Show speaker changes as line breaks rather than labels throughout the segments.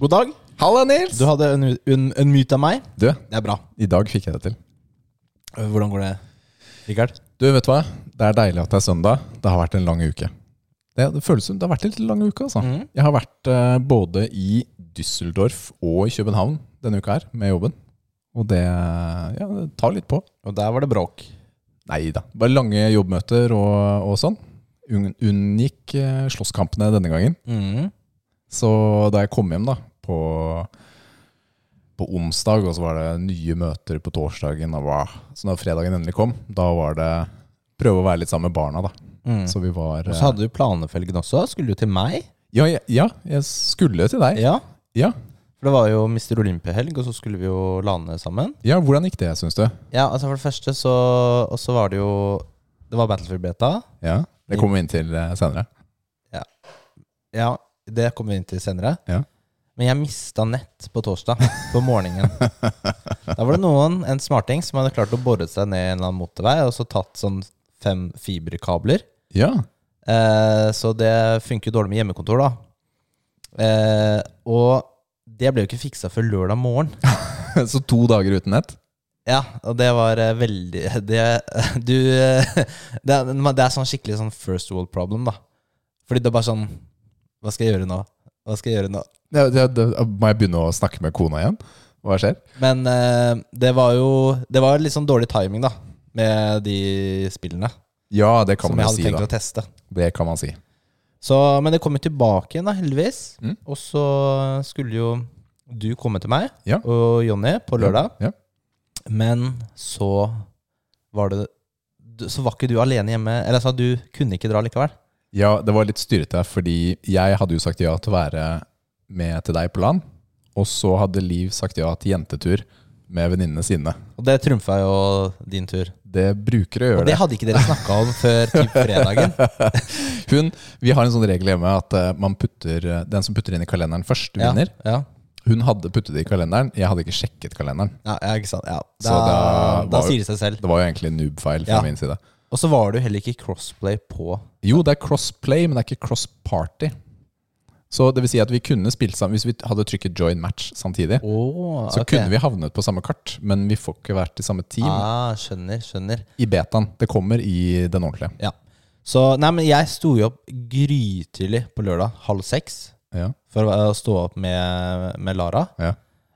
God dag.
Halla, Nils!
Du hadde en, en, en myte av meg.
Du,
Det er bra.
i dag fikk jeg det til.
Hvordan går det, Rikard?
Du, vet du hva? Det er deilig at det er søndag. Det har vært en lang uke. Det, det føles som det har vært en litt lang uke, altså.
Mhm.
Jeg har vært eh, både i Düsseldorf og i København denne uka her, med jobben. Og det, ja, det tar litt på.
Og der var det bråk.
Nei da. Bare lange jobbmøter og, og sånn. Un, unngikk eh, slåsskampene denne gangen.
Mm.
Så da jeg kom hjem da, på, på onsdag, og så var det nye møter på torsdagen, og hva. så da fredagen endelig kom, da var det prøve å være litt sammen med barna. da.
Så,
Så vi var
Mm.
eh,
og så hadde du planefelgen også. Skulle du til meg?
ja, ja, ja, jeg skulle til deg.
Ja.
Ja,
For det var jo Mister Olympia-helg, og så skulle vi jo lande sammen.
ja hvordan gikk det, syns du?
Ja, altså for det første så Og så var det jo Det var Battlefield Beta.
Ja, Det kommer vi inn til eh, senere.
Ja, det kommer vi inn til senere.
Ja.
Men jeg mista nett på torsdag, på morgenen. da var det noen, en smarting, som hadde klart å bore seg ned i en eller annen motorvei, og så tatt sånn fem fiberkabler.
Ja,
Eh, så det funker jo dårlig med hjemmekontor, da. Eh, og det ble jo ikke fiksa før lørdag morgen.
Så to dager uten nett?
Ja, og det var eh, veldig Det, du, eh, det, er, men det er sånn skikkelig sånn first world problem, da. Fordi det er bare sånn Hva skal jeg gjøre nå? Hva skal jeg gjøre nå?
Ja, ja, det- må jeg begynne å snakke med kona igjen? Hva skjer?
Men eh, det var jo Det var litt sånn dårlig timing, da, med de spillene
Ja, det kan
som jeg
man
hadde
jo si,
tenkt
da.
å teste.
Det kan man si.
Så, men det kom jo tilbake igjen, da, heldigvis.
Mm.
Og så skulle jo du komme til meg
Ja.
og Jonny på lørdag.
Ja.
Men så var det du- Så var ikke du alene hjemme. Eller altså, du kunne ikke dra likevel.
Ja, det var litt styrete, fordi jeg hadde jo sagt ja til å være med til deg på LAN, og så hadde Liv sagt ja til jentetur med venninnene sine.
Og det trumfa jo din tur.
Det bruker å
Og
gjøre
det
det.
hadde ikke dere snakka om før typ fredagen.
Hun, vi har en sånn regel hjemme at eh, man putter, eh, den som putter inn i kalenderen først,
Ja,
vinner.
ja.
Hun hadde puttet det i kalenderen, jeg hadde ikke sjekket kalenderen.
Ja, ja, ikke sant. Ja.
Så
Da,
da
da
var-
sier det seg selv.
Det var jo egentlig en noob-feil fra
Ja.
min side.
Og så var det jo heller ikke crossplay på.
Jo, det er crossplay, men det er ikke cross-party. Så det vil si at vi kunne spilt sammen, hvis vi hadde trykket join match samtidig,
Oh,
så kunne vi havnet på samme kart, men vi får ikke vært i samme team.
ah, Skjønner, skjønner.
I betaen. Det kommer i den ordentlige.
Ja. Så nei, men jeg sto jo opp grytidlig på lørdag, halv seks,
Ja,
for å å stå opp med, med Lara.
ja.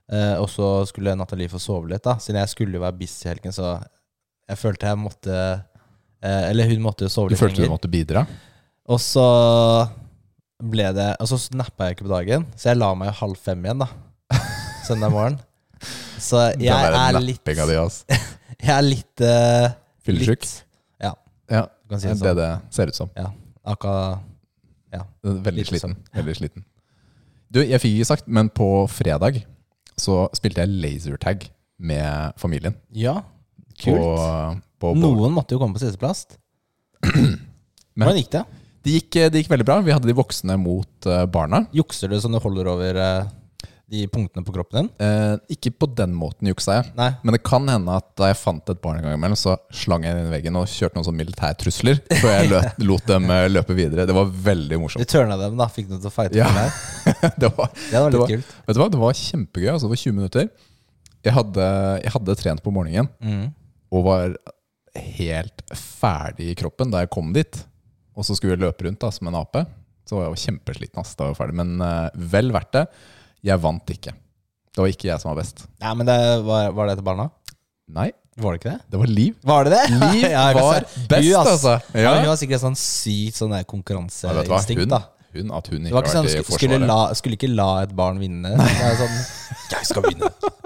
Eh, og så skulle Nathalie få sove litt, da. Siden jeg skulle jo være busy i helgen, så jeg følte jeg måtte eh, Eller hun måtte jo sove
Du
litt
følte du
lenger.
måtte bidra?
Og så ble det Og så nappa jeg ikke på dagen, så jeg la meg jo halv fem igjen, da. Søndag morgen. Så jeg er, litt,
nappinga
jeg
di, ass.
er litt uh,
Fyllesyk?
Ja,
Ja,
du kan si
det
det
er det
sånn.
det ser ut som.
Ja, akkurat
Veldig
Litt sånn.
sliten. Veldig sliten. Du, jeg fikk ikke sagt, men på fredag så spilte jeg lasertag med familien.
Ja,
På,
kult.
på bowl.
Noen måtte jo komme på sideplass.
Men-
Hvordan gikk det?
det, gikk, det gikk veldig bra. Vi hadde de voksne mot eh, barna.
Jukser du sånn du holder over eh, de punktene på kroppen din?
Eh, ikke på den måten juksa jeg.
Nei.
Men det kan hende at da jeg fant et barn en gang imellom, så slang jeg det inn i veggen og kjørte noen sånne militærtrusler før jeg løt, lot dem eh, løpe videre. Det var veldig
Du
morsomt.
tørna dem, da. Fikk dem til å fighte
Ja.
med deg.
Det var,
Det var
det
litt
var,
kult.
vet du hva? Det var kjempegøy. Altså, det var 20 minutter. Jeg hadde, jeg hadde trent på morgenen
Mm.
og var helt ferdig i kroppen da jeg kom dit. Og så skulle jeg løpe rundt da, som en ape. Så var jeg jo kjempesliten. ass, da var jeg ferdig. Men eh, vel verdt det. Jeg vant ikke. Det var ikke jeg som var best.
Nei, men det, var, var det etter barna?
Nei,
Var det ikke det?
det var Liv.
Var det det?
Liv
Ja, jeg kan
var
se.
best,
Hun, ass.
altså.
Ja.
Ja.
men hun har sikkert en sånn sykt sånn der
Ja, vet du hva?
konkurranseinstinkt.
Hun,
da
hun, at hun
Det
ikke
var
har
ikke sånn
vært i
skulle, skulle,
Forsvaret.
la, skulle ikke la et barn vinne. Det er sånn Jeg skal vinne!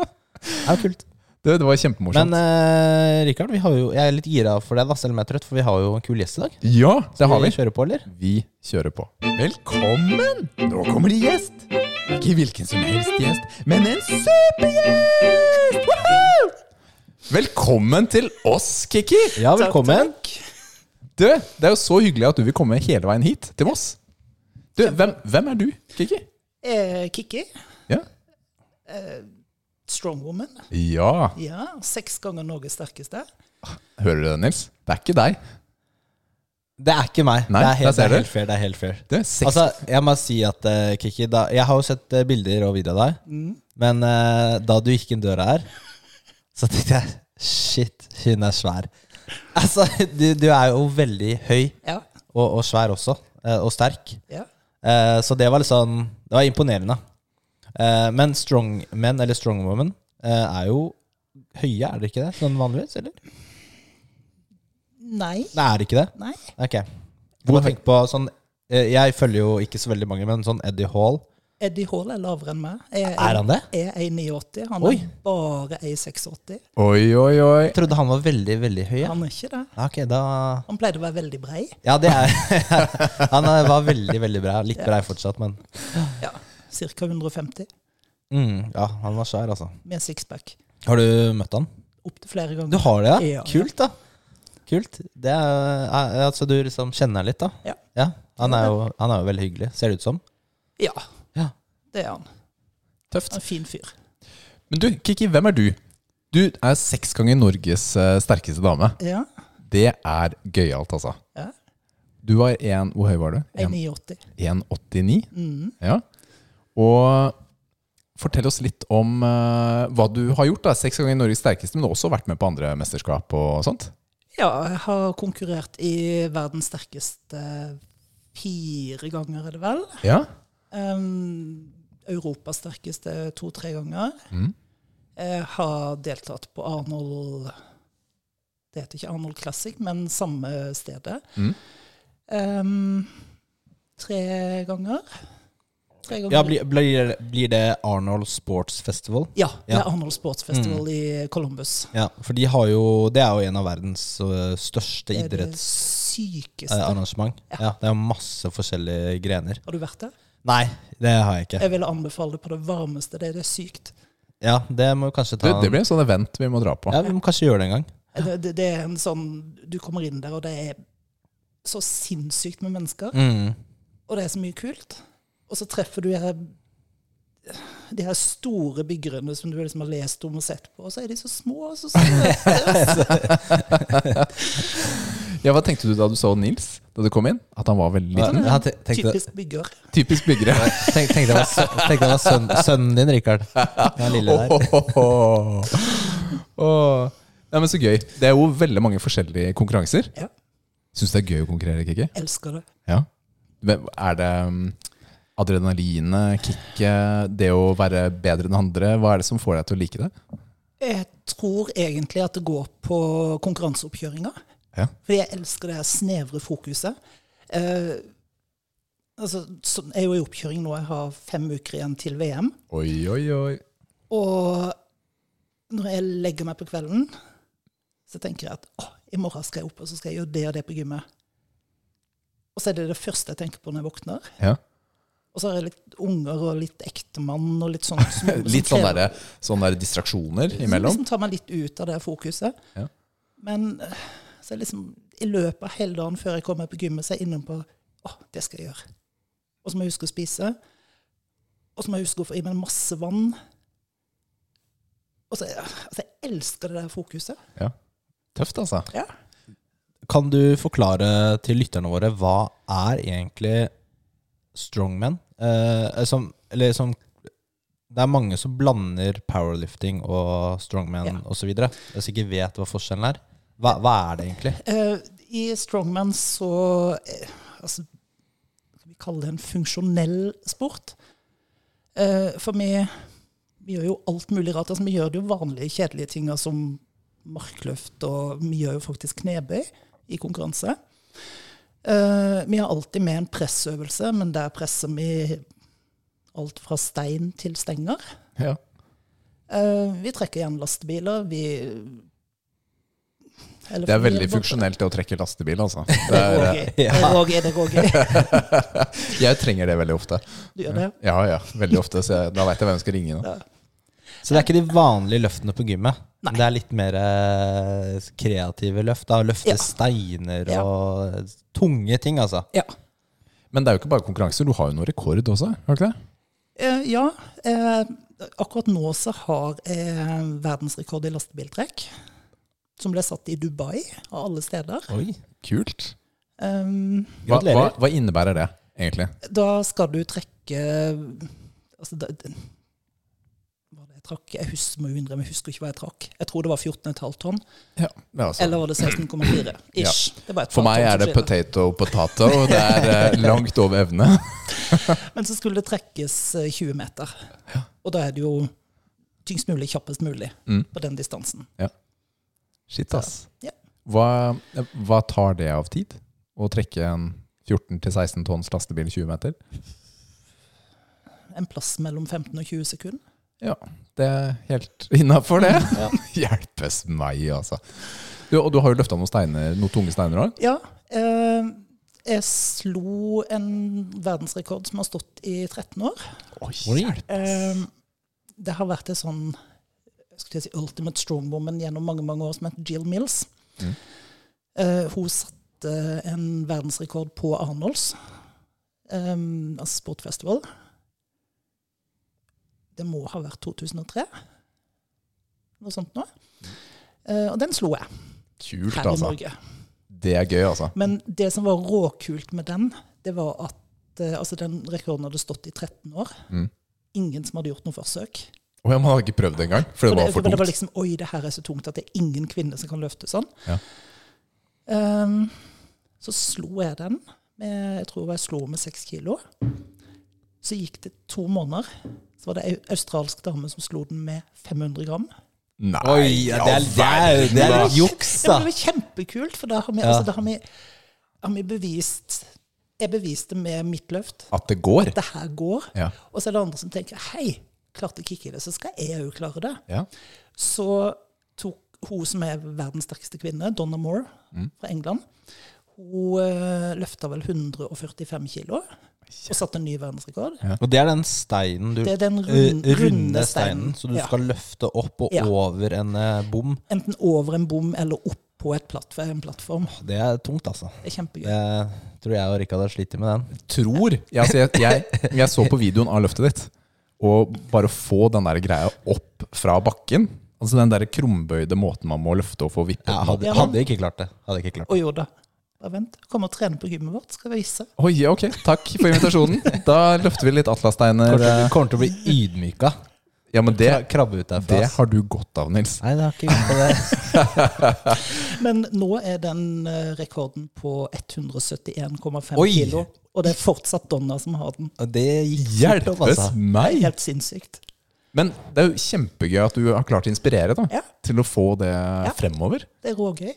Det er jo kult.
Det, det var kjempemorsomt.
Men eh, Rikard, vi har jo, jeg er litt gira for det, da, selv om jeg er trøtt, for vi har jo en kul gjest i dag.
ja, det har vi.
Kjører på, eller?
Vi kjører på. Velkommen! Nå kommer det gjest! Ikke hvilken som helst gjest, men en supergjest! Woohoo! Velkommen til oss, Kiki.
Ja, velkommen.
Du, det er jo så hyggelig at du vil komme hele veien hit til Moss. Du, hvem, hvem er du, Kiki?
Eh, Kikki.
Ja.
Strong woman.
ja.
Ja, seks ganger Norges sterkeste.
Hører du det, Nils? Det er ikke deg.
Det er ikke meg.
Nei,
det, er
der
helt,
ser
det er
du.
helt fair. Det er helt fair.
Du, seks.
Altså, jeg må si at eh, Kiki, da, jeg har jo sett eh, bilder og video av deg, men eh, da du gikk inn døra her, så tenkte jeg shit, hun er svær. Altså, du, du er jo veldig høy
Ja.
og, og svær også, eh, og sterk.
ja.
Eh, så det var litt sånn Det var imponerende. Eh, men strongmen, eller strongwoman, eh, er jo høye, er det ikke det? Sånn vanligvis, eller?
Nei.
Nei, er det ikke det?
Nei.
Ok. Jeg må tenke på sånn eh, Jeg følger jo ikke så veldig mange, men sånn Eddie Hall
Eddie Hall er lavere enn meg. Jeg,
Er han det?
Jeg er 1,89. Han
Oi.
er bare 1,86.
Oi, oi, oi.
Jeg trodde han var veldig, veldig høy. Ja.
Han er ikke det.
Ok, da
Han pleide å være veldig brei.
Ja, det er Han eh, var veldig, veldig brei. Litt brei fortsatt, men
Ja, Ca. 150
mm, Ja, han var svær, altså.
med sixpack.
Har du møtt han?
Opptil flere
Du
ganger.
har det, ja?
Ja.
Kult, da. Kult. Det er, eh, altså, du liksom kjenner han litt, da?
Ja.
han, er jo, han er jo veldig hyggelig, ser det ut som.
Ja,
Ja.
det er han.
Tøft.
En fin fyr.
Men du, Kiki, hvem er du? Du er seks ganger Norges eh, sterkeste dame.
Ja.
Det er gøyalt, altså.
ja.
Du var en Hvor høy var du? En-
1,89.
1,89.
Mm.
Ja. Og fortell oss litt om eh, hva du har gjort. da Seks ganger Norges sterkeste, men du har også vært med på andre mesterskap og sånt.
Ja, jeg har konkurrert i verdens sterkeste fire ganger, er det vel.
Ja.
Um, Europas sterkeste to-tre ganger.
Mm.
Jeg har deltatt på Arnold Det heter ikke Arnold Classic, men samme stedet.
Mm.
Um, tre ganger. Tre ganger.
Ja, blir, blir, blir det Arnold Sports Festival?
Ja, det
Ja. Mm.
er Arnold Sports Festival i Columbus.
Ja, for de har jo, det er jo en av verdens eh, største
Det er det
idrettsarrangement.
sykeste.
Ja. det er masse forskjellige grener.
Har du vært der?
Nei, det har jeg ikke.
Jeg ville anbefale det på det varmeste. Det, det er sykt.
Ja, Det må vi kanskje
Du,
ta
det blir en sånn event vi må dra på.
Ja, Vi må kanskje gjøre det en gang.
Det, det, det er en sånn Du kommer inn der, og det er så sinnssykt med mennesker.
Mm.
Og det er så mye kult. Og så treffer du de her, de her store byggerne som du liksom har lest om og sett på, og så er de så små og så søte.
Ja, Hva tenkte du da du så Nils da du kom inn? At han var veldig
Ja,
liten?
jeg te- tenkte,
Typisk bygger.
Typisk byggere.
tenk, tenkte jeg var, sø- tenkte jeg var sønn, sønnen din, Rikard. Den lille der.
Åh. Åh. Nei, men Så gøy. Det er jo veldig mange forskjellige konkurranser.
Ja.
Syns du det er gøy å konkurrere, Kikki?
Elsker det.
Ja. Men Er det um, adrenalinet, kicket, det å være bedre enn andre? Hva er det som får deg til å like det?
Jeg tror egentlig at det går på konkurranseoppkjøringa.
Ja.
Fordi jeg elsker det her snevre fokuset. Eh, altså, sånn- jeg er jo i oppkjøring nå. Jeg har fem uker igjen til VM.
Oi, oi, oi.
Og når jeg legger meg på kvelden, så tenker jeg at å, i morgen skal jeg opp og så skal jeg gjøre det og det på gymmet. Og så er det det første jeg tenker på når jeg våkner.
Ja.
Og så har jeg litt unger og litt ektemann og litt sånn. som-
Litt
som
sånn
krever-
derre sånn der distraksjoner
Som
imellom.
liksom tar meg litt ut av det fokuset.
Ja.
Men eh, så er det liksom i løpet av hele dagen før jeg kommer på gymmet, så er jeg inne på å, det skal jeg gjøre. Og så må jeg huske å spise. Og så må jeg huske å få i meg masse vann. Og så, altså, Jeg elsker det der fokuset.
Ja. Tøft, altså.
Ja.
Kan du forklare til lytterne våre hva er egentlig strongman? Eh, som, eller som Det er mange som blander powerlifting og strongman
Ja.
osv. Hvis ikke vet hva forskjellen er. Hva, hva er det egentlig?
Eh, I Strongman så eh, altså, Skal vi kalle det en funksjonell sport? Eh, for vi, vi gjør jo alt mulig rart. Altså, vi gjør de jo vanlige kjedelige tinga som markløft, og vi gjør jo faktisk knebøy i konkurranse. Eh, vi har alltid med en pressøvelse, men der presser vi alt fra stein til stenger.
Ja.
Eh, vi trekker igjen lastebiler. Vi Eller
Det er
fordi
veldig
jeg var-
funksjonelt det å trekke lastebil, altså. Det
Det går
er,
gøy.
Ja.
Det går gøy, det går gøy.
jeg trenger det veldig ofte.
Du gjør det?
Ja, ja, veldig ofte, så jeg, da veit jeg hvem jeg skal ringe. Da.
Så det er ikke de vanlige løftene på gymmet.
Nei.
Det er litt mer eh, kreative løft. Da. Løfte
Ja.
steiner
Ja.
og tunge ting, altså.
Ja.
Men det er jo ikke bare konkurranser, du har jo noe rekord også? Har du ikke det?
Eh, ja. Eh, akkurat nå så har jeg verdensrekord i lastebiltrekk. Som ble satt i Dubai, av alle steder.
Oi.
Kult.
Um,
Hva, hva,
Gratulerer.
hva innebærer det, egentlig?
Da skal du trekke altså, da, den- Hva var det jeg trakk? Jeg husker, må jo innrømme, jeg husker ikke hva jeg trakk. Jeg tror det var 14,5 tonn.
Ja, men altså,
Eller var det 16,4? Ish. Det var et
for
par
meg
tonn
er det
som skiller.
potato potato, og det er eh, langt over evne.
Men så skulle det trekkes eh, 20 meter. Og da er det jo tyngst mulig, kjappest mulig
Mm.
på den distansen.
Shit, ass.
Ja.
Hva, hva tar det av tid? Å trekke en 14-16 tonns lastebil 20 meter?
En plass mellom 15 og 20 sekunder.
Ja, det er helt innafor, det. Hjelpes meg, altså. Du, og du har jo løfta noen steiner, noen tunge steiner òg?
Ja. Eh, jeg slo en verdensrekord som har stått i 13 år.
Oi.
Eh, det har vært en sånn jeg skulle til å si ultimate strongwoman gjennom mange mange år som heter Jill Mills.
Mm.
Eh, hun satte en verdensrekord på Arnolds, eh, altså sportfestival. Det må ha vært 2003, noe sånt nå. Eh, og den slo jeg
Kult,
her i
altså.
Norge.
Det er gøy, altså.
Men det som var råkult med den, det var at eh, altså den rekorden hadde stått i 13 år.
Mm.
Ingen som hadde gjort noe forsøk.
Og man hadde ikke prøvd det engang, for det var for
Det var
tungt.
liksom, Oi, det her er så tungt at det er ingen kvinner som kan løfte sånn.
Ja.
Ehm, så slo jeg den. Med, jeg tror jeg slo med seks kilo. Så gikk det to måneder. Så var det ei australsk dame som slo den med 500 gram.
Nei,
Oi, ja, det, er, det, er, det er litt juks,
Det
da.
var jo kjempekult, for da har vi,
Ja.
altså, da har vi, har vi bevist Jeg beviste med mitt løft
At det går.
at det her går.
Ja.
Og så er det andre som tenker Hei, klarte ikke jeg det, så skal jeg òg klare det.
Ja.
så tok hun som er verdens sterkeste kvinne, Donna Moore fra England, hun uh, løfta vel 145 kilo og satte en ny verdensrekord.
Og det er den steinen du
Det er den
eh,
rund-
runde,
runde
steinen
steinen.
som du
Ja.
skal løfte opp og
Ja.
over en eh, bom.
Enten over en bom eller oppå et plattform, en plattform.
Det er tungt, altså.
Det er kjempegøy.
Det tror jeg og Rikard har slitt med den.
Tror ja, altså, jeg, jeg, jeg så på videoen av løftet ditt, og bare få den der greia opp fra bakken Altså den der krumbøyde måten man må løfte og få vippet
Jeg
den opp.
hadde,
Ja, men-
hadde ikke klart det. Hadde ikke klart det.
Og jo da. Bare vent. Kom og trene på gymmet vårt, skal jeg vise.
Oi, ja, ok, takk for invitasjonen. Da løfter vi litt
Kommer
atlassteiner. eh.
til- Kommer til å bli ydmyka.
Ja, men det,
Kra- Krabbe ut derfra.
det
ass.
har du godt av, Nils.
Nei, det har ikke gjort det.
Men nå er den eh, rekorden på 171,5
Oi!
kilo. Og det er fortsatt Donna som har den.
Og det gikk fort opp,
Hjelpes
altså.
meg!
Helt sinnssykt.
Men det er jo kjempegøy at du har klart å inspirere da,
Ja.
til å få det fremover.
Det er rågøy.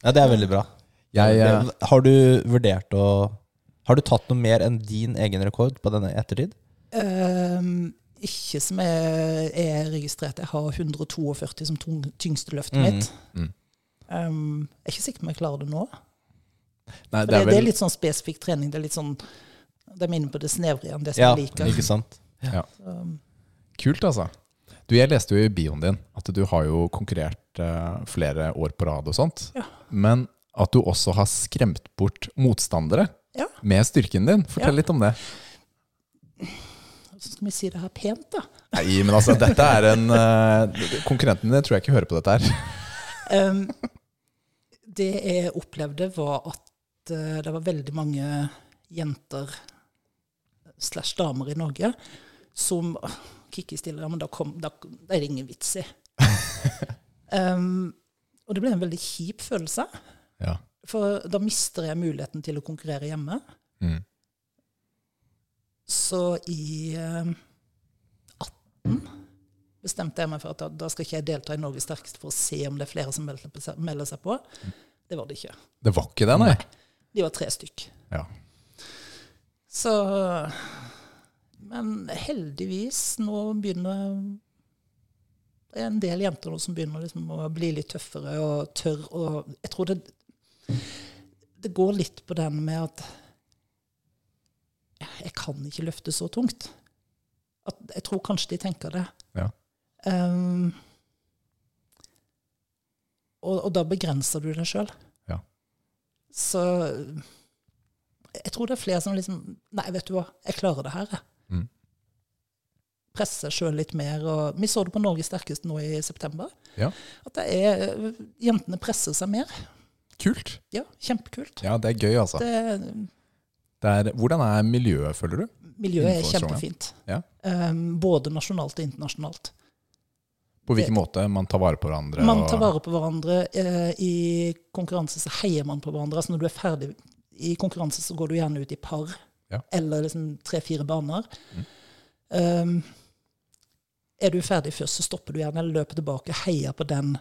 Ja, det er veldig bra.
Jeg, eh,
Det- Har du vurdert å Har du tatt noe mer enn din egen rekord på denne ettertid?
Ehm, ikke som jeg er registrert. Jeg har 142 som tung, tyngste løftet
Mhm.
mitt.
Mhm.
Ehm, jeg er ikke sikker på om jeg klarer det nå.
nei,
For
det er
det er
vel
litt sånn spesifikk trening. Det er litt sånn, De er inne på det snevre igjen, det som
Ja,
jeg liker.
ikke sant?
Så,
Kult, altså. Du, jeg leste jo i bioen din at du har jo konkurrert eh, flere år på rad og sånt.
Ja.
Men at du også har skremt bort motstandere
Ja.
med styrken din. Fortell
Ja.
litt om det.
så skal vi si det her pent, da.
Nei, men altså, dette er en eh, Konkurrenten din tror jeg ikke hører på dette her.
Ehm, det jeg opplevde, var at eh, det var veldig mange jenter slash damer i Norge som «Åh, Kikki stiller, ja, men da, kom, da, da er det ingen vits i. Ehm, og det ble en veldig kjip følelse,
Ja.
for da mister jeg muligheten til å konkurrere hjemme.
Mm.
Så i eh, 18 bestemte jeg meg for at da, da skal ikke jeg delta i Norges sterkeste for å se om det er flere som melder på seg- melder seg på. Det var det ikke.
Det var ikke det, nei.
De var tre stykk.
Ja.
Så Men heldigvis, nå begynner Det er en del jenter nå som begynner liksom å bli litt tøffere og tørr. Og jeg tror det, det går litt på den med at jeg kan ikke løfte så tungt. At jeg tror kanskje de tenker det.
Ja.
Ehm, og, og da begrenser du deg sjøl.
Ja.
Så jeg tror det er flere som liksom Nei, vet du hva, jeg klarer det her, jeg.
Mm.
Presse sjøl litt mer. Og vi så det på Norges sterkeste nå i september.
Ja.
At det er, jentene presser seg mer.
Kult.
Ja, kjempekult.
Ja, det er gøy, altså.
Det,
Det er, hvordan er miljøet, føler du?
miljøet er
Innenfor Stavanger.
kjempefint.
Ja.
Ehm, både nasjonalt og internasjonalt.
På hvilken måte man tar vare på hverandre?
Man tar
og-
vare på hverandre. eh, I konkurranse så heier man på hverandre. Altså når du er ferdig i konkurranse, så går du gjerne ut i par
Ja. Mm.
eller liksom tre-fire baner. Um, er du ferdig først, så stopper du gjerne, eller løper tilbake, heier på den.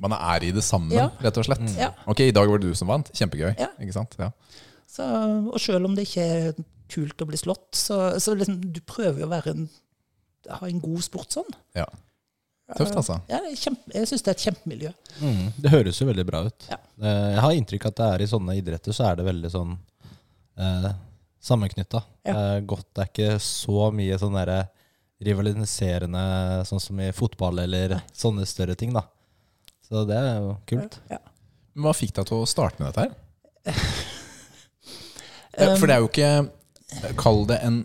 Man er i det sammen,
Ja. Mm.
rett og slett.
Ja.
Ok, i dag var det du som vant. Kjempegøy.
Ja.
Ikke sant? Ja.
Så, og selv om det ikke er kult å bli slått, så, så liksom, du prøver jo å være en, ha en god sport sånn.
ja. Tøft, altså.
Ja, det er kjempe, jeg syns det er et kjempemiljø.
Mm, det høres jo veldig bra ut.
Ja.
Eh, Jeg har inntrykk at det er i sånne idretter så er det veldig sånn eh, sammenknytta.
Ja.
Eh, godt det er ikke så mye sånn derre rivaliserende sånn som i fotball eller sånne større ting, da. Så det er jo kult.
Ja.
Men hva fikk deg til å starte med dette her?
Um,
Eh, For det er jo ikke eh, Kall det en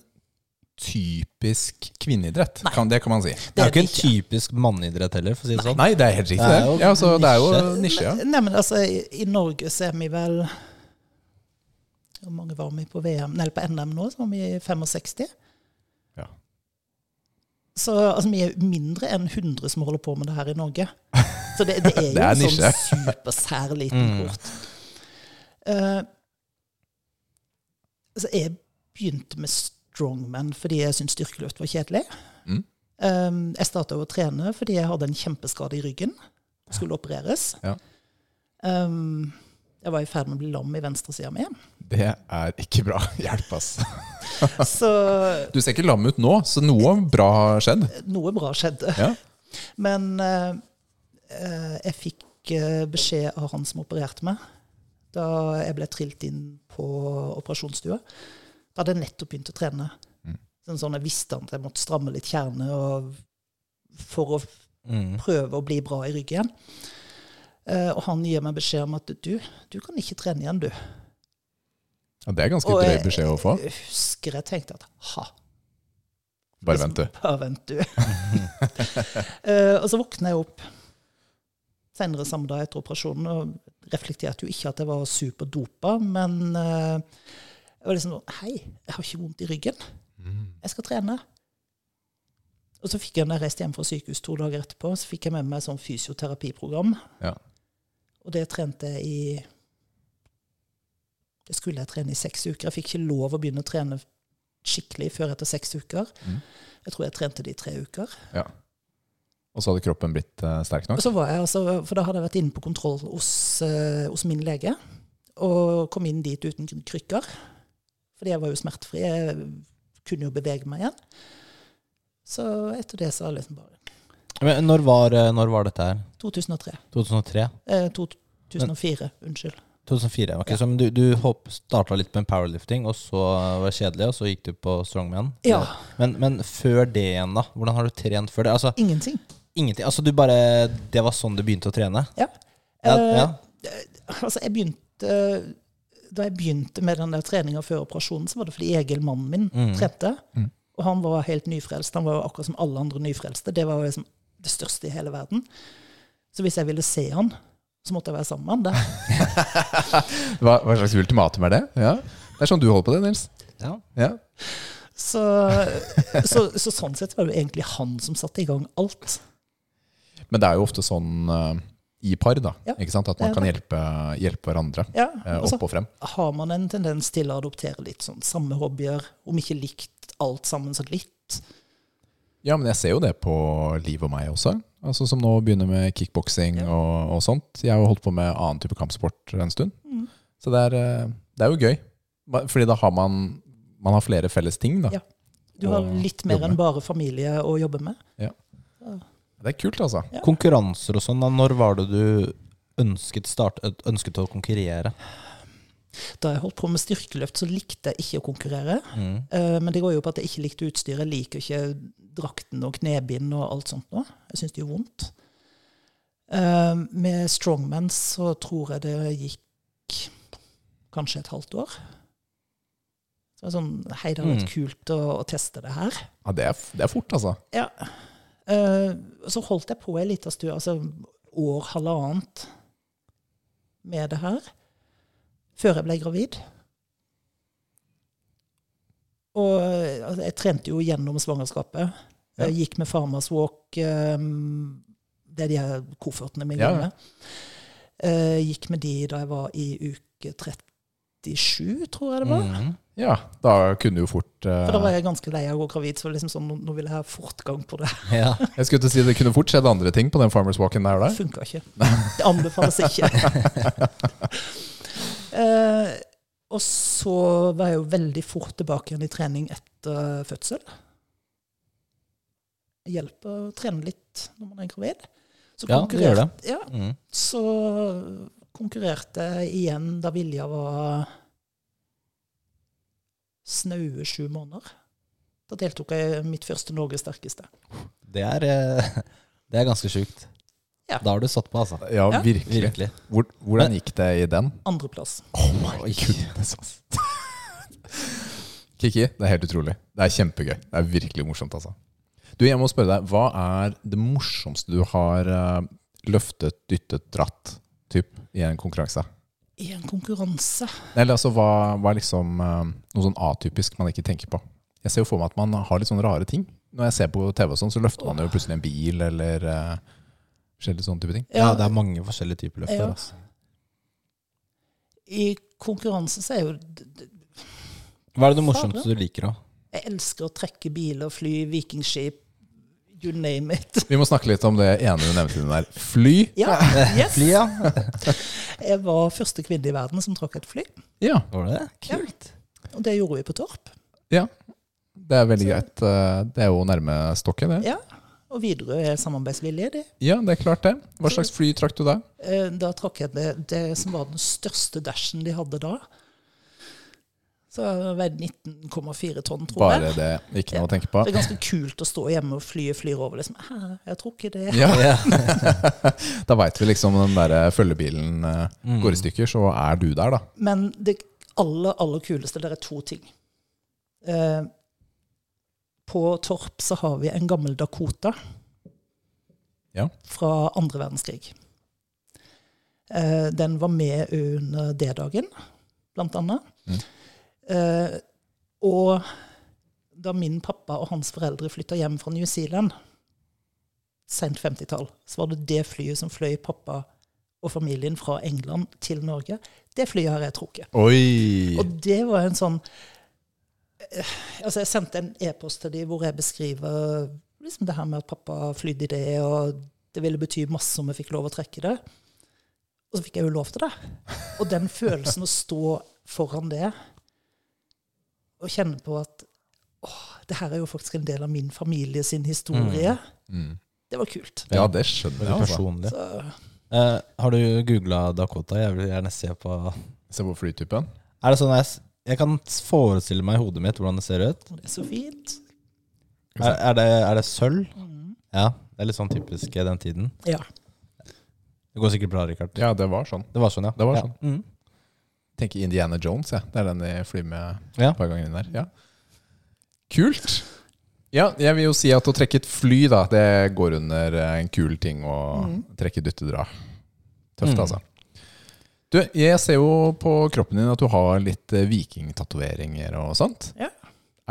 typisk kvinneidrett. Kan, det kan man si.
Det er jo ikke
det
en typisk manneidrett heller, for å si det sånn.
Nei, det er helt riktig.
Det
Det
er jo
ja, så det er jo
nisje.
nisje. Ja.
Men- Nei, men altså, i, i Norge så er vi vel Hvor mange var vi på VM, nei, på NM nå? Så var vi 65.
Ja.
Så altså, vi er mindre enn 100 som holder på med det her i Norge. Så det, det er jo
Det er
en
nisje.
sånn supersær liten
Mm.
kort. Eh, altså, jeg begynte med strongman fordi jeg syntes styrkeløft var kjedelig.
Mm.
Um, jeg starta å trene fordi jeg hadde en kjempeskade i ryggen. Skulle opereres.
Ja.
Um, jeg var i ferd med å bli lam i venstresida mi.
Det er ikke bra. Hjelp, ass.
Så
Du ser ikke lam ut nå, så noe bra har skjedd.
noe bra skjedde.
Ja.
Men eh, eh, jeg fikk eh, beskjed av han som opererte meg, da jeg ble trilt inn på operasjonsstua. Da hadde jeg nettopp begynt å trene.
Mm.
Sånn, sånn, jeg visste at jeg måtte stramme litt kjerne og for å
Mm.
prøve å bli bra i ryggen igjen. Eh, og han gir meg beskjed om at du, du kan ikke trene igjen, du.
Ja, det er ganske
Og eh,
drøy
jeg-
beskjed å få.
Jeg husker jeg tenkte at ha,
Bare
liksom,
vent, du.
Bare vent, du. Eh, og så våkna jeg opp senere samme dag etter operasjonen og reflekterte jo ikke at jeg var superdopa, men eh, jeg var liksom sånn Hei, jeg har ikke vondt i ryggen. Jeg skal trene. Og så fikk jeg, når jeg reiste hjem fra sykehus to dager etterpå, så fikk jeg med meg sånn fysioterapiprogram.
Ja.
Og det trente jeg i Det skulle jeg trene i seks uker. Jeg fikk ikke lov å begynne å trene skikkelig før etter seks uker.
Mm.
Jeg tror jeg trente det i tre uker.
Og så hadde kroppen blitt eh, sterk nok?
Og så var jeg altså, For da hadde jeg vært inne på kontroll hos, eh, hos min lege. Og kom inn dit uten krykker. Fordi jeg var jo smertefri. Jeg kunne jo bevege meg igjen. Så etter det så har jeg liksom bare
Men når var, eh, når var dette her?
2003.
2003?
Eh, 2004. Unnskyld.
2004. ok, Så men du, du hopp- starta litt med powerlifting, og så var det kjedelig, og så gikk du på strongman?
Ja.
Men, men før det igjen, da? Hvordan har du trent før det? Altså,
Ingenting.
ingenting. Altså, du bare Det var sånn du begynte å trene?
Ja.
Ja,
Eh,
ja.
Altså, jeg begynte Da jeg begynte med den der treninga før operasjonen, så var det fordi Egil, mannen min, trente. Og han var helt nyfrelst. Han var jo akkurat som alle andre nyfrelste. Det var jo liksom det største i hele verden. Så hvis jeg ville se han, så måtte jeg være sammen med han der.
Hva, hva slags ultimatum er det? Ja. Det er sånn du holder på det, Nils.
ja.
Ja.
Så, så, så sånn sett var det jo egentlig han som satte i gang alt.
Men det er jo ofte sånn eh, i par, da.
Ja.
Ikke sant? At man
Det er
kan hjelpe, hjelpe hverandre
Ja,
eh,
og så
opp og frem.
har man en tendens til å adoptere litt sånn samme hobbyer, om ikke likt alt sammen, så litt.
Ja, men jeg ser jo det på Liv og meg også. Altså Som nå begynner med kickboksing
Ja.
og, og sånt. Jeg har jo holdt på med annen type kampsport en stund.
Mm.
Så det er, eh, det er jo gøy. Ba- Fordi da har man, man har flere felles ting, da.
Ja. Du har
Og
litt mer
jobbe
enn bare familie å jobbe med.
Ja.
Ja.
Det er kult, altså.
Ja.
Konkurranser og sånn, da, når var det du ønsket, start, ønsket å konkurrere?
Da jeg holdt på med styrkeløft, så likte jeg ikke å konkurrere.
Mm.
Eh, Men det går jo på at jeg ikke likte utstyret. Jeg liker ikke drakten og knebind og alt sånt noe. Jeg syns det gjør vondt. Eh, Med strongman så tror jeg det gikk kanskje et halvt år. Så det var sånn Hei, det hadde vært kult å, å teste det her.
Ja, det, er, det er fort, altså.
Ja. Eh, Så holdt jeg på ei lita stund, altså år, halvannet, med det her. Før jeg ble gravid. Og eh, altså, jeg trente jo gjennom svangerskapet. Jeg gikk med Farmers Walk, eh, det er de her koffertene mine
Ja,
går
ja.
med. Eh, Gikk med de da jeg var i uke 37, tror jeg det var.
Mm.
Ja, da kunne du jo fort eh,
For da var jeg ganske lei av å gå gravid, så liksom sånn, nå- nå vil jeg ha fortgang på det.
Ja.
Jeg skulle til å si det kunne fort skjedd andre ting på den Farmers Walken der.
Det
der.
funka ikke. Det anbefales ikke. eh, og så var jeg jo veldig fort tilbake igjen i trening etter fødsel. Det Hjelper å trene litt når man er gravid. Så
Ja, det gjør
konkurrerte- Ja,
Mm.
så konkurrerte jeg igjen da Vilja var snaue sju måneder. Da deltok jeg i mitt første Norges sterkeste.
Det, er, eh, det er ganske sjukt.
Ja.
Da har du satt på, altså.
Ja,
Ja.
virkelig.
Virkelig.
Hvor, hvordan gikk det i den?
Andreplass.
Oh my goodness, ass. Kiki, det er helt utrolig. Det er kjempegøy. Det er virkelig morsomt, altså. Du, jeg må spørre deg, hva er det morsomste du har eh, løftet, dyttet, dratt typ, i en konkurranse?
I en konkurranse
Eller altså, hva, hva er liksom eh, noe sånn atypisk man ikke tenker på? Jeg ser jo for meg at man har litt sånne rare ting. Når jeg ser på TV og sånn, så løfter man jo plutselig en bil, eller eh, forskjellige sånne type ting.
Ja, det er mange forskjellige typer løfter.
Ja.
Altså.
I konkurranse så er jo d- d-
Hva er det morsomste du liker, da?
Jeg elsker å trekke biler, fly, vikingskip, you name it.
Vi må snakke litt om det ene du nevnte den der. Fly.
Ja, yes.
Fly, ja.
Jeg var første kvinne i verden som trakk et fly.
Ja.
Var det det? Kult.
Og det gjorde vi på Torp.
Ja, det er veldig greit. Eh, Det er jo nærme stokket, det.
Ja. Og Widerøe er samarbeidsvillige, de.
Ja, det er klart det. Hva slags fly trakk du da?
Eh, Da trakk jeg det, det som var den største dashen de hadde da. Så jeg veide 19,4 tonn, tror jeg.
Bare det. Ikke noe å tenke på.
Det er ganske kult å stå hjemme og flyet flyr over. Liksom. Hæ, jeg tror ikke det.
Ja,
Ja.
Da veit vi liksom den der følgebilen eh,
Mm.
går i stykker, så er du der, da.
Men det aller, aller kuleste, det er to ting. Eh, på Torp så har vi en gammel Dakota
Ja.
fra andre verdenskrig. Eh, den var med under D-dagen, blant annet.
Mm.
Eh, og da min pappa og hans foreldre flytta hjem fra New Zealand, sent 50-tall, så var det det flyet som fløy pappa og familien fra England til Norge. Det flyet har jeg trukket.
Oi!
Og det var en sånn eh, Altså, jeg sendte en e-post til dem hvor jeg beskriver liksom det her med at pappa flydde i det, og det ville bety masse om jeg fikk lov å trekke det. Og så fikk jeg jo lov til det. Og den følelsen å stå foran det og kjenne på at åh, det her er jo faktisk en del av min familie sin historie,
Mm.
det var kult.
Ja, det skjønner
Veldig
jeg, altså.
personlig.
Så,
Eh, har du googla Dakota? Jeg vil gjerne se på Er
Se på flytypen.
det sånn jeg, s- jeg kan forestille meg i hodet mitt hvordan det ser ut?
det er så fint.
Er, er, det, er det sølv?
Mm.
Ja. Det er litt sånn typisk i den tiden.
Ja.
Det går sikkert bra, Rikard.
Ja, det var sånn.
Det var sånn, ja.
Det var
ja.
sånn.
Mm.
Tenker Indiana Jones, jeg. Det er den jeg flyr med
Ja.
et par ganger inn der. Ja. Kult. Ja, jeg vil jo si at å trekke et fly, da, det går under eh, en kul ting å trekke dyttedra. Tøft,
Mm.
altså. Du, jeg ser jo på kroppen din at du har litt eh, vikingtatoveringer og sånt.
Ja.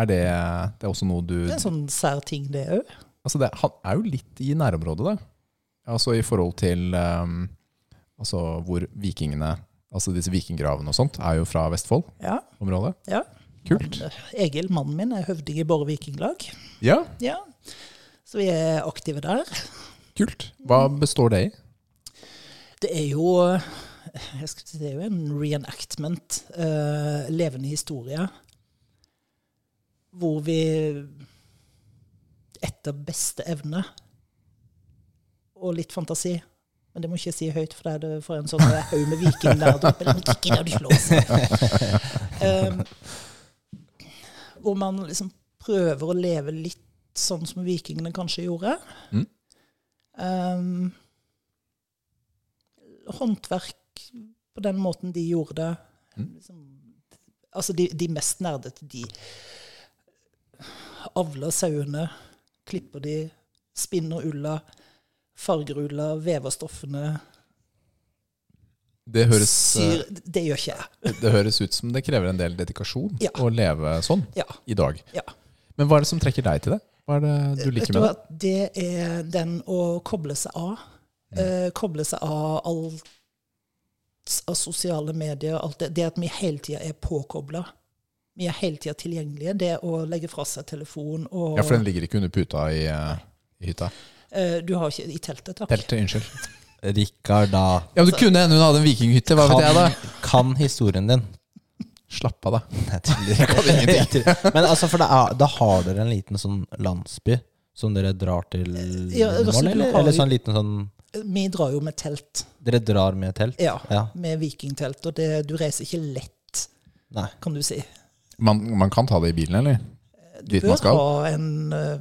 Er det, det er også noe du
Det er en sånn sær ting, det òg.
Altså, det, han er jo litt i nærområdet, da. Altså i forhold til ehm, Altså hvor vikingene Altså disse vikinggravene og sånt er jo fra Vestfold-området.
Ja. Ja.
Kult.
Egil, mannen min, er høvding i Borre vikinglag.
Ja,
Ja. Så vi er aktive der.
kult. Hva består det i?
Det er jo jeg skal si, Det er jo en reenactment, eh, levende historie, hvor vi etter beste evne og litt fantasi. Men det må ikke jeg si høyt, for det er det for en sånn haug med viking der oppe. Den kikker der du slås. Ehm, hvor man liksom prøver å leve litt sånn som vikingene kanskje gjorde.
Mm.
Ehm, håndverk på den måten de gjorde det.
Mm.
Liksom, altså de, de mest nerdete, de avler sauene, klipper de, spinner ulla, farger ulla, vever stoffene.
Det høres, eh,
Syr Det gjør ikke jeg.
det høres ut som det krever en del dedikasjon
Ja.
å leve sånn
Ja.
i dag.
Ja. Eh,
Men hva er det som trekker deg til det? Hva er det du liker med
Vet du
det?
hva? Det er den å koble seg av. Eh, koble seg av alt av sosiale medier. Alt det. det at vi hele tida er påkobla. Vi er hele tida tilgjengelige. Det å legge fra seg telefon og
Ja, for den ligger ikke under puta i, eh, i hytta.
eh, Du har ikke I teltet, takk.
Teltet, unnskyld.
Rikard, da.
Ja, men du kunne hende hun hadde en vikinghytte, hva vet jeg da?
Kan, kan historien din.
Slapp av, da.
Nei, tuller. Jeg kan ingenting. Men altså, for da, er, da har dere en liten sånn landsby som dere drar til
Ja,
i morgen,
Røsselklubben
eller,
har
eller
jo-
sånn liten sånn
Vi drar jo med telt.
Dere drar med telt?
Ja.
Ja.
Med vikingtelt. Og det, du reiser ikke lett,
Nei.
kan du si.
Man, man kan ta det i bilen, eller?
Eh, Du
Dit man
bør
skal.
ha en eh,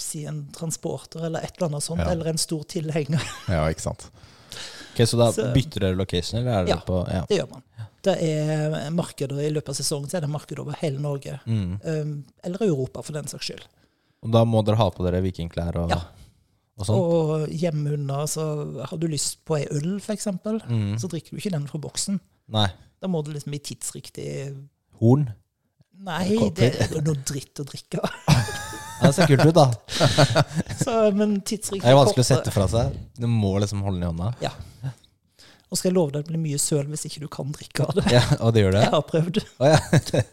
Si en transporter eller et eller annet sånt,
Ja.
eller en stor tilhenger.
Ja, ikke sant.
Ok, Så da
Så-
bytter dere location, eller er dere
Ja.
på Ja.
Det gjør man. Det er markeder I løpet av sesongen så er det marked over hele Norge.
Mm.
Um, eller Europa, for den saks skyld.
Og da må dere ha på dere vikingklær og,
Ja.
og sånn?
Og hjemme unna, så har du lyst på ei øl, f.eks., eksempel
Mm.
så drikker du ikke den fra boksen.
Nei.
Da må det liksom bli tidsriktig
Horn?
Nei, det er jo noe dritt å drikke.
Ja, Det ser kult ut, da.
Så, men tidsriktig
Det er jo vanskelig å
koppe-
sette fra seg. Du må liksom holde den i hånda.
Ja. Og skal jeg love deg at det blir mye søl hvis ikke du kan drikke av det.
Ja, og det gjør det?
Jeg har prøvd.
Å, ja.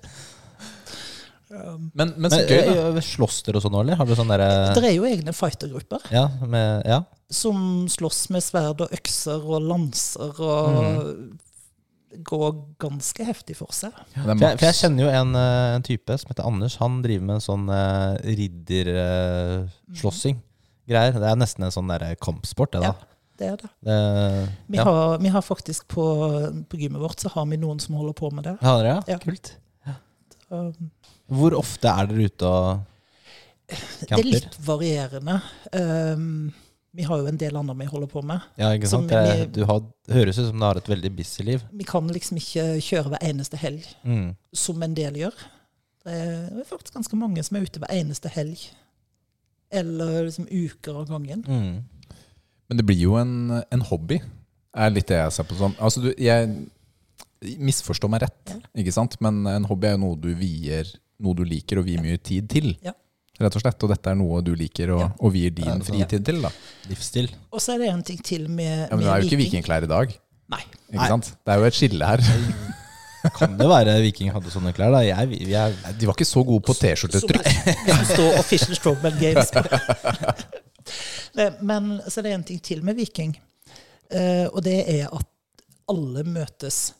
Um,
Men, men så
Men,
gøy, da.
eh, Slåss dere og sånn, eller? Har dere sånn derre
det er jo egne fightergrupper.
ja, med- ja.
som slåss med sverd og økser og lanser og
Mhm.
går ganske heftig for seg.
Det er
For jeg, for jeg
maks.
kjenner jo en, eh, en type som heter Anders. Han driver med en sånn uh, ridderslåssing. Greier. Det er nesten en sånn der kampsport, det da.
Ja. Det er det.
Det-
Vi,
ja.
har, vi har faktisk på, på gymmet vårt så har vi noen som holder på med det.
Har dere, ja?
Ja.
Kult.
Um,
Hvor ofte er dere ute og
det er
camper?
litt varierende. Um, vi har jo en del andre vi holder på med.
Ja, ikke
Som
sant? Det,
vi-
du har, det høres ut som du har et veldig busy liv.
Vi kan liksom ikke kjøre hver eneste helg,
Mm.
som en del gjør. Det er faktisk ganske mange som er ute hver eneste helg. Eller liksom uker av gangen.
Mm.
Men det blir jo en, en hobby, er litt det jeg ser på det som. Altså, du, jeg misforstår meg rett, ikke sant? Men en hobby er jo noe du vier, noe du liker og vier mye tid til.
Ja.
Rett og slett, og dette er noe du liker og, og
Ja,
vier din
det er sant.
fritid til, da.
Livsstil.
Og så er det en ting til med,
Ja, men det
med
er jo ikke vikingklær i dag,
Nei.
ikke
Nei.
sant? Det er jo et skille her.
Kan det være viking hadde sånne klær, da? Jeg, jeg,
Nei, De var ikke så gode på T-skjortetrykk.
Som står Official Strongman Games på. Nei, Men så er det en ting til med Viking, eh, og det er at alle møtes,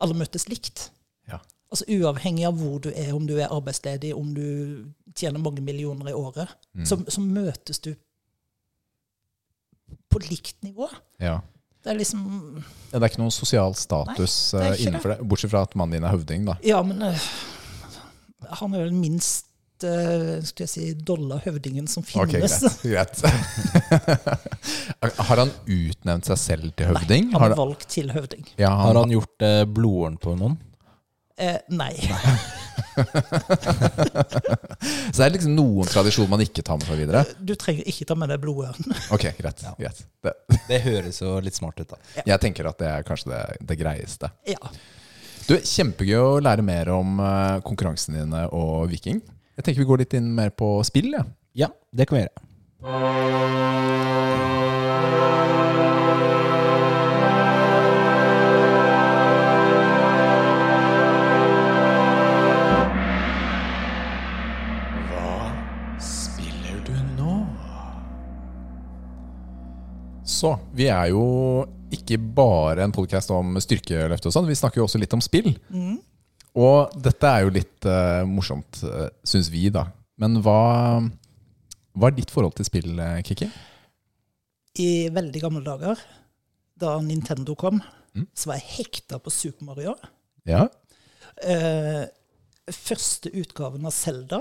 alle møtes likt.
Ja.
Altså Uavhengig av hvor du er, om du er arbeidsledig, om du tjener mange millioner i året,
Mm.
så, så møtes du på likt nivå.
Ja.
Det er liksom
Ja, Det er ikke noen sosial status
Nei, det er
eh,
ikke
innenfor det, bortsett fra at mannen din er høvding, da.
Ja, men øh, han er vel den minst øh, skulle jeg si, dolla høvdingen som
Ok,
finnes.
greit. greit. Har han utnevnt seg selv til høvding?
Han
Har
er valgt til høvding.
Ja,
har han gjort eh, blodåren på noen?
Eh, nei.
Så det er liksom noen tradisjon man ikke tar med seg videre?
Du trenger ikke ta med deg blodørn.
Ok, greit. greit. Det,
Det høres jo litt smart ut, da.
jeg tenker at det er kanskje det, det greieste.
Ja.
Du, Kjempegøy å lære mer om eh, konkurransene dine og Viking. Jeg tenker vi går litt inn mer på spill. Ja.
Ja, det kan vi gjøre.
Spiller du nå? Så, vi er jo ikke bare en podkast om styrkeløft og sånn, vi snakker jo også litt om spill. Og dette er jo litt eh, morsomt, uh, syns vi, da. Men hva, hva er ditt forhold til spill, eh, Kikki?
i veldig gamle dager, da Nintendo kom,
Mm.
så var jeg hekta på Super Mario.
Ja.
Eh, første utgaven av Zelda.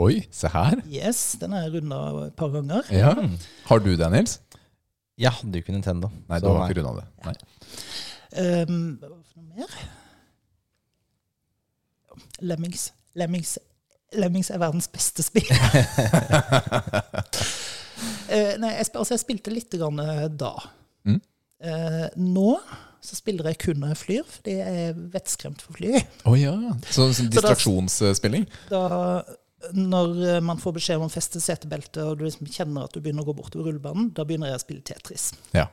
Oi, se her.
Yes, den har jeg runda et par ganger.
Ja.
Mm.
Har du det, Nils?
Jeg hadde jo ikke Nintendo.
Nei,
så
du har ikke grunn av det. Nei.
Eh, hva var det for noe mer? Lemmings. Lemmings. Lemmings er verdens beste spill. Eh, nei, jeg, sp- altså jeg spilte litt grann, eh, da.
Mm.
Eh, nå så spiller jeg kun når jeg flyr, fordi jeg er vettskremt for fly.
Å ja. Så, så
da-
distraksjonsspilling?
Mm.
Da, når eh, man får beskjed om å feste setebelte, og du liksom kjenner at du begynner å gå bortover rullebanen, da begynner jeg å spille Tetris.
Ja.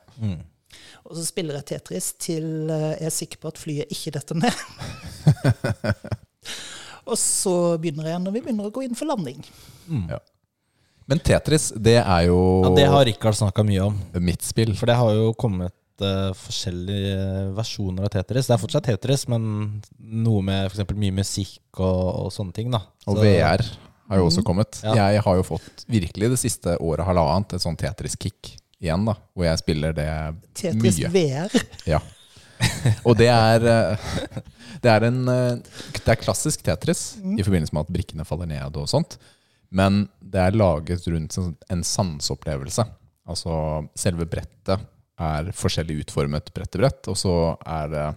Og så spiller jeg Tetris til eh, jeg er sikker på at flyet ikke detter ned. og så begynner jeg når vi begynner å gå inn for landing.
ja. Men Tetris, det er jo
Ja, det har Rikard snakka mye om.
mitt spill.
For det har jo kommet eh, forskjellige eh, versjoner av Tetris. Det er fortsatt Tetris, men noe med for eksempel mye musikk og, og sånne ting. da Så-
Og
Mhm.
VR har jo også kommet.
Ja.
Jeg har jo fått virkelig det siste året halvannet et sånn Tetris-kick igjen, da. Hvor jeg spiller det
Tetris
mye.
VR.
Ja. Og det er eh, Det er, en, eh, det er klassisk Tetris i forbindelse med at brikkene faller ned og sånt. Men det er laget rundt en- en sanseopplevelse. Altså selve brettet er forskjellig utformet brett til brett, og så er det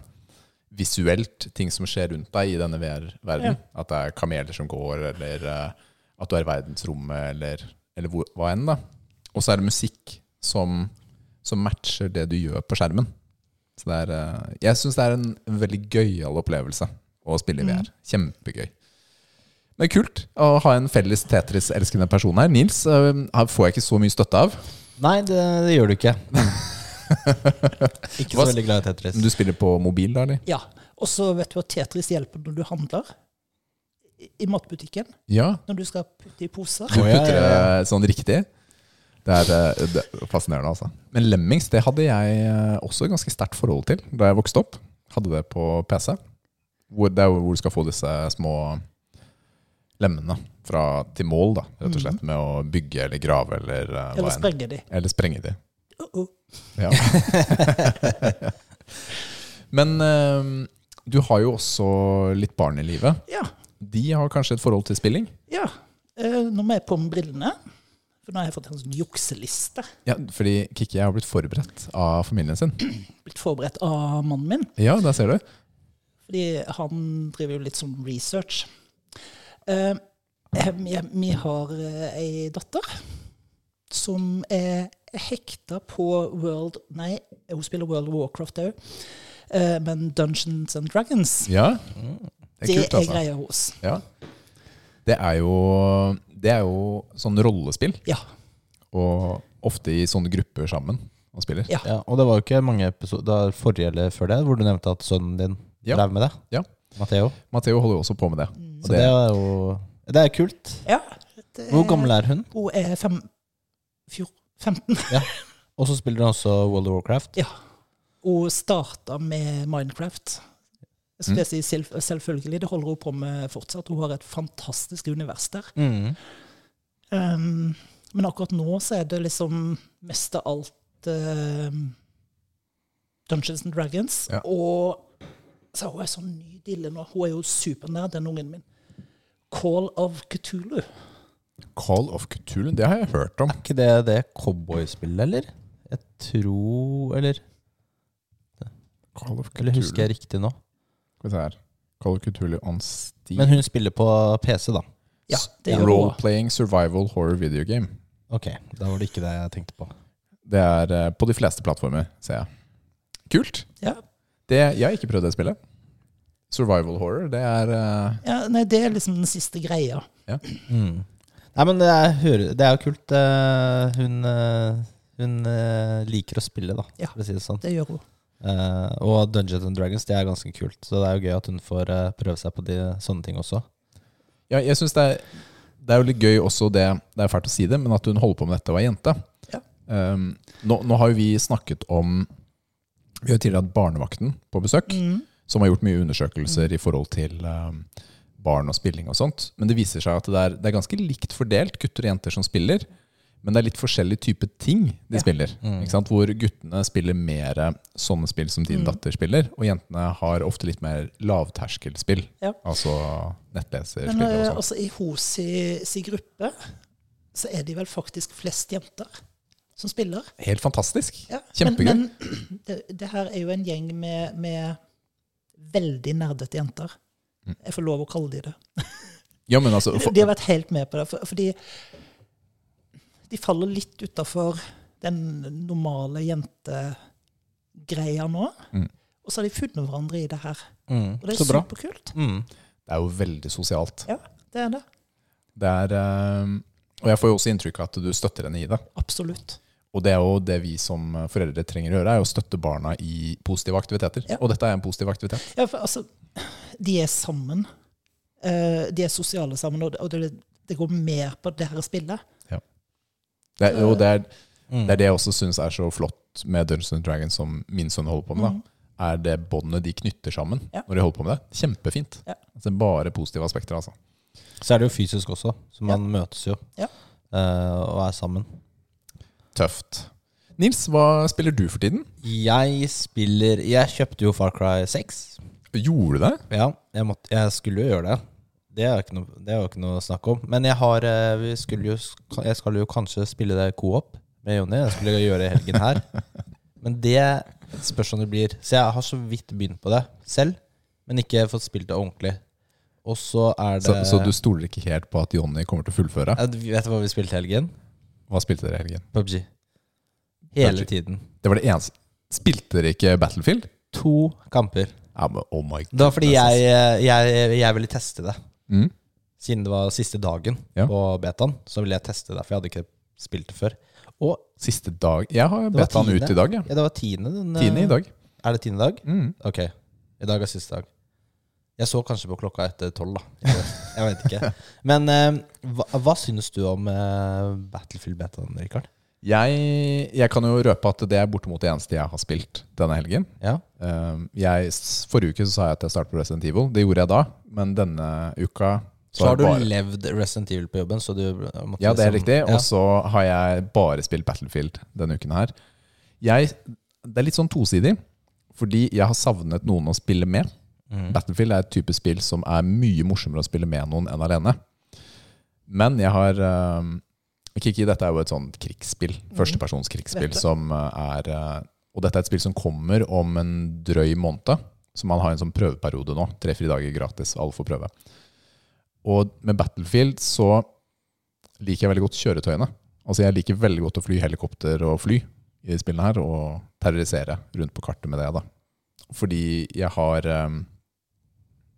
visuelt ting som skjer rundt deg i denne VR-verdenen. At det er kameler som går, eller eh, at du er i verdensrommet, eller, eller hvor, hva enn. da. Og så er det musikk som, som matcher det du gjør på skjermen. Så det er, eh, jeg syns det er en veldig gøyal opplevelse å spille i VR. Kjempegøy. Det er kult å ha en felles Tetris-elskende person her. Nils eh, her får jeg ikke så mye støtte av.
Nei, det, det gjør du ikke. ikke så
Hva-
veldig glad i Tetris.
Men Du spiller på mobil, da, eller?
Ja. Og så vet du at Tetris hjelper når du handler. I- I matbutikken.
Ja.
Når du skal putte i poser.
Du
Å, ja,
putter
ja, ja.
det sånn riktig. Det er, eh, det er fascinerende, altså. Men Lemmings det hadde jeg eh, også ganske sterkt forhold til da jeg vokste opp. Hadde det på PC. Hvor, det er jo hvor du skal få disse små lemmene fra, til mål, da, rett og slett. Med å bygge eller grave Mm. eller eh, hva
Eller
enn.
sprenger de.
Eller sprenge de.
Uh -oh.
Ja. Men eh, du har jo også litt barn i livet.
Ja.
De har kanskje et forhold til spilling?
ja. Eh, nå må jeg på med brillene. For nå har jeg fått en sånn jukseliste.
Ja, fordi Kikki har blitt forberedt av familien sin.
Blitt forberedt av mannen min.
Ja, der ser du.
Fordi han driver jo litt sånn research. Eh, eh, vi, vi har eh, ei datter som er hekta på World Nei, hun spiller World of Warcraft òg. men Dungeons and Dragons,
Ja. Det er
det er,
kult, altså.
greia hos.
Ja. Det er jo, det er jo sånn rollespill,
Ja.
og ofte i sånne grupper sammen og spiller.
Ja.
Ja, og det var jo ikke mange episoder forrige eller før det, hvor du nevnte at sønnen din
Ja.
drev med det.
Ja.
Matteo.
Matheo holder jo også på med det. Og
Så det, er jo Det er kult.
ja det,
Hvor gammel er hun?
Eh, Hun er fem, fjor, 15.
Og så spiller hun også World of Warcraft.
Ja. Hun starta med Minecraft. Så det sier selv, selvfølgelig, det holder hun på med fortsatt. Hun har et fantastisk univers der.
Mm.
Um, men akkurat nå så er det liksom mest av alt um, Dungeons and Dragons.
Ja.
Og så hun er sånn ny dille nå. Hun er jo supernær, den ungen min. Call of Cthulhu.
Call of Cthulhu, det har jeg hørt om.
Er ikke det det cowboyspillet, eller? Jeg tror Eller,
Call of
eller husker jeg riktig nå?
Skal vi se her. Call of Cthulhu on Steam.
Men hun spiller på PC, da.
Ja, det gjør hun.
Role-playing survival horror video game.
Ok, da var det ikke det jeg tenkte på.
Det er eh, på de fleste plattformer, ser jeg. Kult.
Ja.
Det, jeg har ikke prøvd det spillet. Survival horror, det er eh,
Ja, nei, det er liksom den siste greia.
Mm. Nei, men det er, hører- det er jo kult. eh, hun eh, hun eh, liker å spille, da,
Ja.
for å si det sånn.
Det gjør hun.
Eh, og Dungeons and Dragons det er ganske kult, så det er jo gøy at hun får eh, prøve seg på de, sånne ting også.
Ja, jeg synes det er, det er jo litt gøy også det Det er fælt å si det, men at hun holder på med dette og er jente.
Ja.
Ehm, nå, nå har jo vi snakket om Vi har jo tidligere hatt Barnevakten på besøk,
Mm.
som har gjort mye undersøkelser i forhold til ehm, barn og spilling og sånt. Men det viser seg at det er, det er ganske likt fordelt, gutter og jenter som spiller. Men det er litt forskjellig type ting de
Ja. Mm.
spiller. Ikke sant? Hvor guttene spiller mer sånne spill som
Mm.
din datter spiller, og jentene har ofte litt mer lavterskelspill.
Ja.
Altså
Men
nettleserspill
eh,
og sånn.
altså, i hos i, si gruppe så er de vel faktisk flest jenter som spiller.
Helt fantastisk.
Ja.
Kjempegøy.
Men, men det, det her er jo en gjeng med, med veldig nerdete jenter.
Mm.
Jeg får lov å kalle de det.
ja, men altså,
De har vært helt med på det. For, fordi de faller litt utafor den normale jentegreia nå.
Mm.
Og så har de funnet hverandre i det her.
Mm.
Og det er
Så bra.
superkult.
Mm.
det er jo veldig sosialt.
Ja, det er det.
Det er, eh, og jeg får jo også inntrykk av at du støtter henne i det.
Absolutt.
Og det er jo det vi som foreldre trenger å gjøre, er å støtte barna i positive aktiviteter.
Ja.
Og dette er en positiv aktivitet.
Ja, for altså, de er sammen. Eh, de er sosiale sammen, og det, og det, det går mer på det her spillet.
Det er, og det er,
Mm.
det er det jeg også syns er så flott med Dungeons and Dragons, som min sønn holder på med. da, Er det båndet de knytter sammen
Mm. Ja.
når de holder på med det. Kjempefint.
Ja.
Altså, bare positive aspekter, altså.
Så er det jo fysisk også, så man møtes jo.
Ja.
eh, og er sammen.
Tøft. Nils, hva spiller du for tiden?
Jeg spiller Jeg kjøpte jo Far Cry 6.
Gjorde du det?
Ja, jeg, måtte, jeg skulle jo gjøre det. Det er jo ikke noe, det er jo ikke noe snakk om. Men jeg har eh, vi skulle jo, sk- Jeg skal jo kanskje spille det co-op med Jonny. Jeg skulle gjøre det i helgen her. Men det spørs om det blir. Så jeg har så vidt begynt på det selv, men ikke fått spilt det ordentlig. Og så er det
Så, så du stoler ikke helt på at Jonny kommer til å fullføre?
Eh, Vet du hva vi spilte i helgen?
Hva spilte dere i helgen?
PubG. Hele
PUBG.
tiden.
Det var det eneste. Spilte dere ikke Battlefield?
To kamper.
Ja, men oh my
Det var fordi
goodness,
jeg, eh, jeg, jeg ville teste det.
Mm.
Siden det var siste dagen
Ja.
på betaen, så ville jeg teste det. For jeg hadde ikke spilt det før. Og
Siste dag Jeg har
var
bedt han ut
tiende.
i dag, jeg.
ja, det var tiende. Den, eh,
Tiende i dag.
Er det tiende dag?
Mm.
Ok. I dag er siste dag. Jeg så kanskje på klokka etter tolv, da. Jeg vet ikke. Men eh, hva, hva syns du om eh, Battlefield-betaen, Rikard?
Jeg, jeg kan jo røpe at det er bortimot det eneste jeg har spilt denne helgen.
Ja?
Um, Jeg, s- forrige uke så sa jeg at jeg startet på Resident Evil. Det gjorde jeg da, men denne uka
Så har du
jeg bare,
levd Resident Evil på jobben, så du måtte
Ja, det er
liksom-
riktig.
Ja.
Og så har jeg bare spilt Battlefield denne uken her. Jeg, det er litt sånn tosidig, fordi jeg har savnet noen å spille med. Battlefield er et type spill som er mye morsommere å spille med noen enn alene. Men jeg har um, Kiki, dette er jo et sånt krigsspill. Førstepersons krigsspill
Dette.
som uh, er uh, Og dette er et spill som kommer om en drøy måned. Så man har en sånn prøveperiode nå. Tre-fire dager gratis. Alle får prøve. Og med Battlefield så liker jeg veldig godt kjøretøyene. Altså Jeg liker veldig godt å fly helikopter og fly i de spillene her, og terrorisere rundt på kartet med det. da. Fordi jeg har um,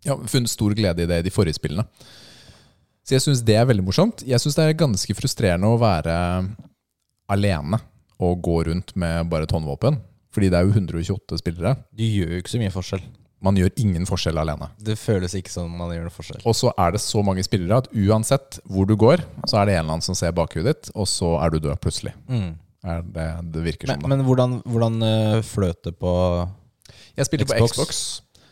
ja, funnet stor glede i det i de forrige spillene. Så jeg syns det er veldig morsomt. Jeg syns det er ganske frustrerende å være alene og gå rundt med bare et håndvåpen. Fordi det er jo 128 spillere.
Du gjør jo ikke så mye forskjell.
Man gjør ingen forskjell alene.
Det føles ikke som man gjør noe forskjell.
Og så er det så mange spillere at uansett hvor du går, så er det en eller annen som ser bakhudet ditt, og så er du død plutselig.
Mm.
Er det, det virker
Men,
som, da.
men hvordan, hvordan eh, fløt det på
Jeg spilte på
Xbox.
Xbox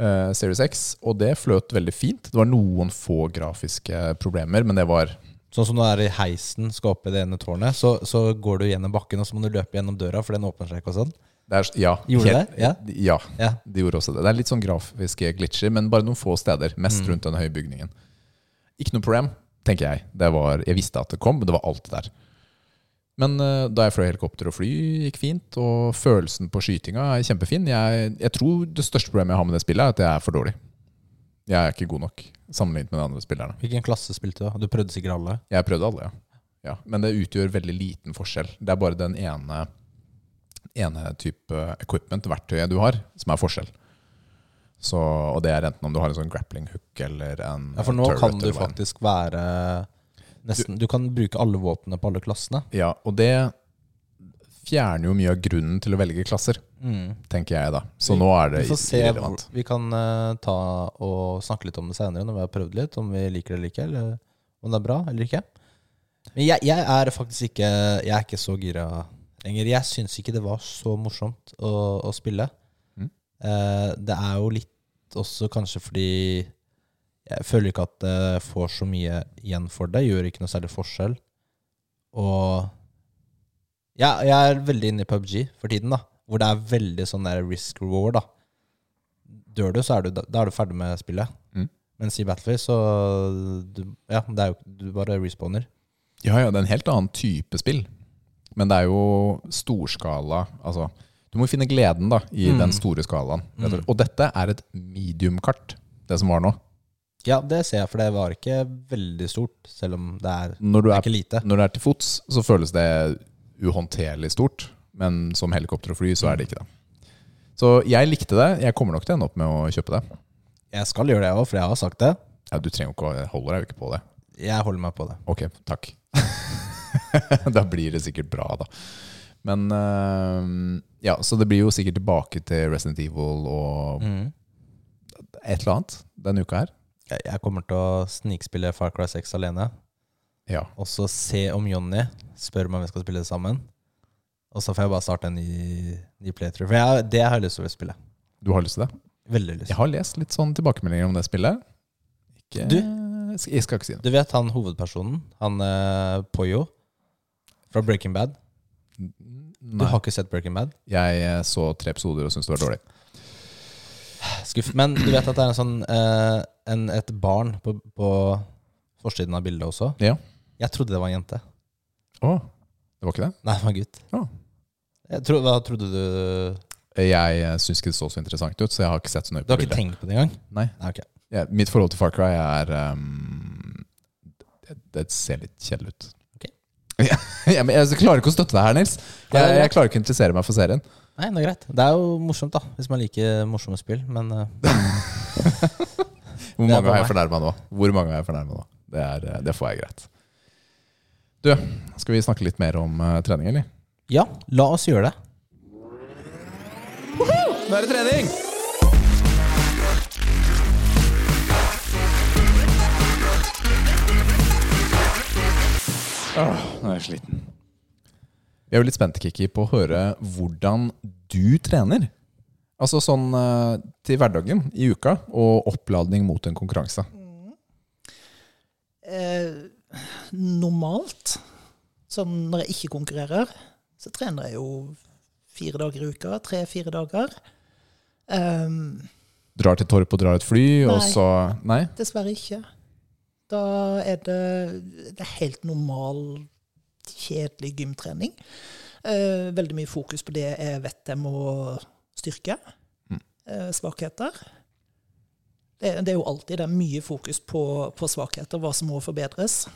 eh, Series X, og det fløt veldig fint. Det var noen få grafiske problemer, men det var
Sånn som du er i heisen, skal opp i det ene tårnet, så, så går du gjennom bakken, og så må du løpe gjennom døra, for den åpner seg ikke og sånn.
det er, Ja.
Gjorde det? Ja.
ja.
Ja.
De gjorde også det. Det er litt sånn grafiske glitcher, men bare noen få steder. Mest rundt den høye bygningen. Ikke noe problem, tenker jeg. Det var, jeg visste at det kom, men det var alltid der. Men eh, da jeg fløy helikopter og fly, gikk fint. Og følelsen på skytinga er kjempefin. Jeg, jeg tror det største problemet jeg har med det spillet, er at jeg er for dårlig. Jeg er ikke god nok sammenlignet med de andre spillerne.
Hvilken klasse spilte du? da? Du prøvde sikkert alle.
Jeg prøvde alle, ja. ja. Men det utgjør veldig liten forskjell. Det er bare den ene, ene type equipment, verktøyet du har, som er forskjell. Så, og det er enten om du har en sånn grappling hook eller en
Ja, for nå
turret
kan du
eller hva enn.
faktisk være nesten Du kan bruke alle våpnene på alle klassene.
Ja, og det fjerner jo mye av grunnen til å velge klasser, tenker jeg da. Så nå er det
Vi får se hvor,
irrelevant.
Vi kan eh, ta og snakke litt om det senere når vi har prøvd litt, om vi liker det eller ikke, eller om det er bra eller ikke. Men jeg, jeg er faktisk ikke Jeg er ikke så gira lenger. Jeg syns ikke det var så morsomt å, å spille.
Mm.
Eh, det er jo litt også kanskje fordi jeg føler ikke at det får så mye igjen for det. Gjør ikke noe særlig forskjell. Og ja, jeg er veldig inne i PubG for tiden, da. Hvor det er veldig sånn der risk reward, da. Dør du, så er du, da er du ferdig med spillet.
Mm.
Mens i Battlefield, så du, Ja, det er jo Du bare respawner.
Ja, ja, det er en helt annen type spill. Men det er jo storskala Altså, du må finne gleden da i
Mm.
den store skalaen. rett og slett. Og dette er et medium-kart, det som var nå.
Ja, det ser jeg, for det var ikke veldig stort, selv om det er, det
Når du
er
er,
ikke lite.
når du er til fots, så føles det uhåndterlig stort. Men som helikopter og fly, så er det ikke det. Så jeg likte det. Jeg kommer nok til å ende opp med å kjøpe det.
Jeg skal gjøre det òg, for jeg har sagt det.
Ja, du trenger jo ikke å holder deg jo ikke på det.
Jeg holder meg på det.
Ok, takk. da blir det sikkert bra, da. Men eh, Ja, så det blir jo sikkert tilbake til Resident Evil og
Mm.
et eller annet denne uka her.
Jeg, jeg kommer til å snikspille Far Cry 6 alene.
Ja.
Og så se om Jonny spør meg om vi skal spille det sammen. Og så får jeg bare starte en ny, ny playthrough. For jeg, det har jeg lyst til å spille.
Du har lyst til det?
Veldig lyst.
Jeg har lest litt sånn tilbakemeldinger om det spillet. Ikke,
Du?
Jeg skal ikke si det.
Du vet han hovedpersonen? Han eh, Poyo fra Breaking Bad? Du
Nei.
har ikke sett Breaking Bad?
Jeg eh, så tre episoder og syntes det var dårlig.
Skuff. Men du vet at det er en sånn, eh, en, et barn på, på forsiden av bildet også?
Ja.
Jeg trodde det var en jente.
Å, det var ikke det?
Nei, det var en gutt.
Ja.
Jeg tro, hva trodde du
Jeg syns ikke det så så interessant ut, så jeg har ikke sett så nøye
Du har
på
ikke
bildet.
tenkt på det engang?
Nei.
Nei, ok.
Ja, mitt forhold til Far Cry er ehm, det, det ser litt kjedelig ut.
Ok.
Ja, men jeg klarer ikke å støtte deg her, Nils.
Nei,
Jeg,
det er
jeg klarer ikke å interessere meg for serien.
Nei, det er greit. Det er jo morsomt, da. Hvis man liker morsomme spill. Men eh, Det
Hvor
er
mange har
bare
jeg fornærma nå? Hvor mange har jeg fornærmet nå? Det, er, eh, det får jeg greit. Du, skal vi snakke litt mer om eh, trening, eller?
ja, la oss gjøre det.
Nå er det trening! Åh, nå er jeg sliten. Vi er jo litt spente, Kiki, på å høre hvordan du trener. Altså sånn eh, til hverdagen i uka, og oppladning mot en konkurranse.
Eh, normalt, sånn når jeg ikke konkurrerer, så trener jeg jo fire dager i uka. Tre-fire dager. Ehm,
Drar til Torp og drar et fly, og
Nei.
så Nei?
Dessverre ikke. Da er det, det er helt normal, kjedelig gymtrening. Eh, veldig mye fokus på det jeg vet jeg må styrke.
Mm.
Eh, svakheter. Det, det er jo alltid det er mye fokus på, på svakheter, hva som må forbedres.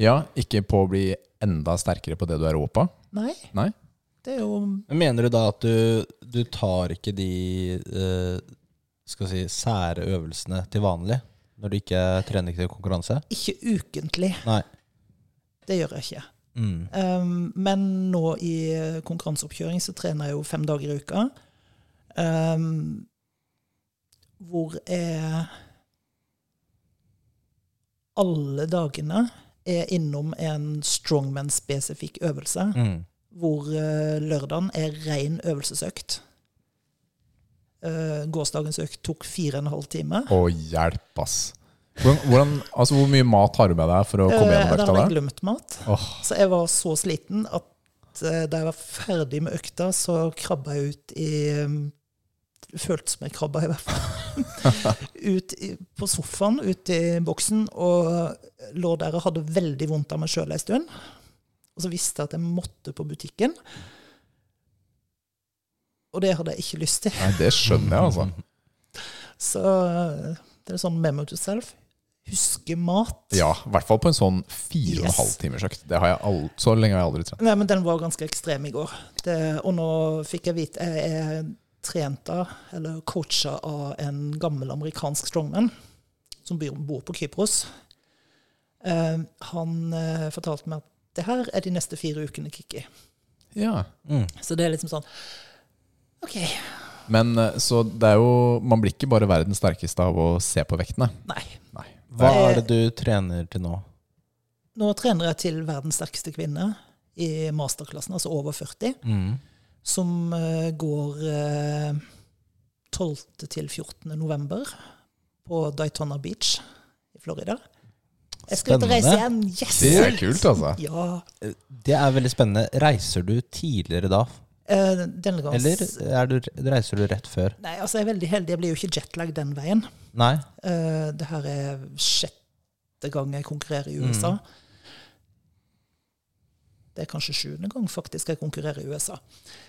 Ja, ikke på å bli enda sterkere på det du er rå på.
Nei,
Nei?
det er jo
Men Mener du da at du, du tar ikke de eh, skal vi si, sære øvelsene til vanlig? Når du ikke trener til konkurranse?
ikke ukentlig.
Nei.
Det gjør jeg ikke.
Mm.
Um, men nå i konkurranseoppkjøring så trener jeg jo fem dager i uka. Um, hvor jeg alle dagene er innom en strongman-spesifikk øvelse.
Mm.
Hvor eh, lørdagen er ren øvelsesøkt. Eh, gårsdagens økt tok fire og en halv time.
Å, hjelp, ass. Hvordan, hvordan, altså, hvor mye mat har du med deg for å komme gjennom
Eh, da
økta
hadde jeg
der?
glemt mat.
Åh,
Så Altså, jeg var så sliten at eh, da jeg var ferdig med økta, så krabba jeg ut i um, Det føltes som jeg krabba, i hvert fall. ut i, på sofaen, ut i boksen, og lå der og hadde veldig vondt av meg sjøl ei stund. Og så visste jeg at jeg måtte på butikken. Og det hadde jeg ikke lyst til.
nei, det skjønner jeg, altså.
Mm. Så eh, det er sånn memo to self. Huske mat.
Ja, i hvert fall på en sånn fire og en
Yes.
halv timers økt. Det har jeg all, så lenge har jeg aldri trent.
Nei, men den var ganske ekstrem i går. Det, og nå fikk jeg vite Jeg er trent av, eller coacha av, en gammel amerikansk strongman som bor, bor på Kypros. Eh, han eh, fortalte meg at det her er de neste fire ukene, Kikki.
Ja.
Mm.
Så det er liksom sånn OK.
Men eh, så det er jo Man blir ikke bare verdens sterkeste av å se på vektene.
Nei.
Nei.
Hva
Eh,
er det du trener til nå?
Nå trener jeg til verdens sterkeste kvinne i masterklassen, altså over 40,
Mm.
som eh, går eh, 12. til 14. november på Daytona Beach i Florida. Jeg skal ut og reise
Spennende.
igjen. Yes!
Det er kult, altså.
Ja.
Eh, Det er veldig spennende. Reiser du tidligere da?
Eh, denne gangen
Eller er du, reiser du rett før?
Nei, altså, jeg er veldig heldig. Jeg blir jo ikke jetlag den veien.
Nei?
Eh, det her er sjette gang jeg konkurrerer i USA.
Mm.
Det er kanskje sjuende gang faktisk jeg konkurrerer i USA.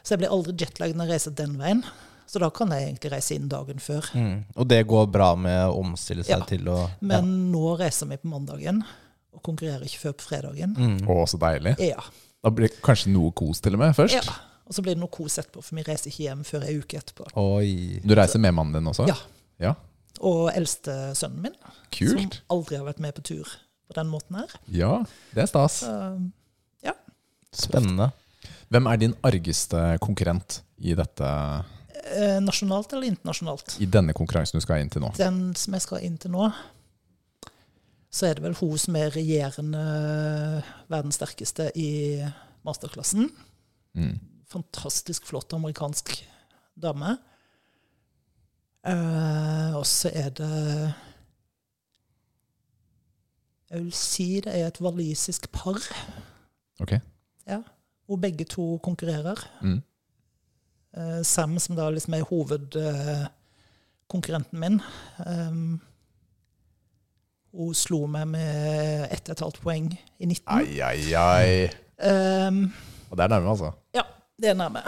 Så jeg blir aldri jetlag når jeg reiser den veien. Så da kan jeg egentlig reise inn dagen før.
Mm. Og det går bra med å omstille seg
Ja,
til å
Men nå reiser vi på mandagen og konkurrerer ikke før på fredagen.
Å, så deilig.
Ja.
Da blir det kanskje noe kos til og med først.
ja. Og så blir det noe kos etterpå, for vi reiser ikke hjem før ei uke etterpå.
Oi.
Du reiser med mannen din også?
Ja.
Ja,
Og eldste sønnen min,
Kult.
som aldri har vært med på tur på den måten her. Eh,
Ja, det er stas.
Så, ja.
Spennende.
Hvem er din argeste konkurrent i, dette,
Eh, Nasjonalt eller internasjonalt?
i denne konkurransen du skal inn til nå?
Den som jeg skal inn til nå, så er det vel hun som er regjerende verdens sterkeste i masterklassen.
Mm.
Fantastisk flott amerikansk dame. Eh, og så er det Jeg vil si det er et walisisk par.
Ok.
Ja, hvor begge to konkurrerer.
Mm.
Eh, Sam, som da liksom er hovedkonkurrenten min, ehm, hun slo meg med ett og et halvt poeng i 19.
Ai, ai, ai.
Ehm,
Og det er nærme, altså.
ja, det er nærme.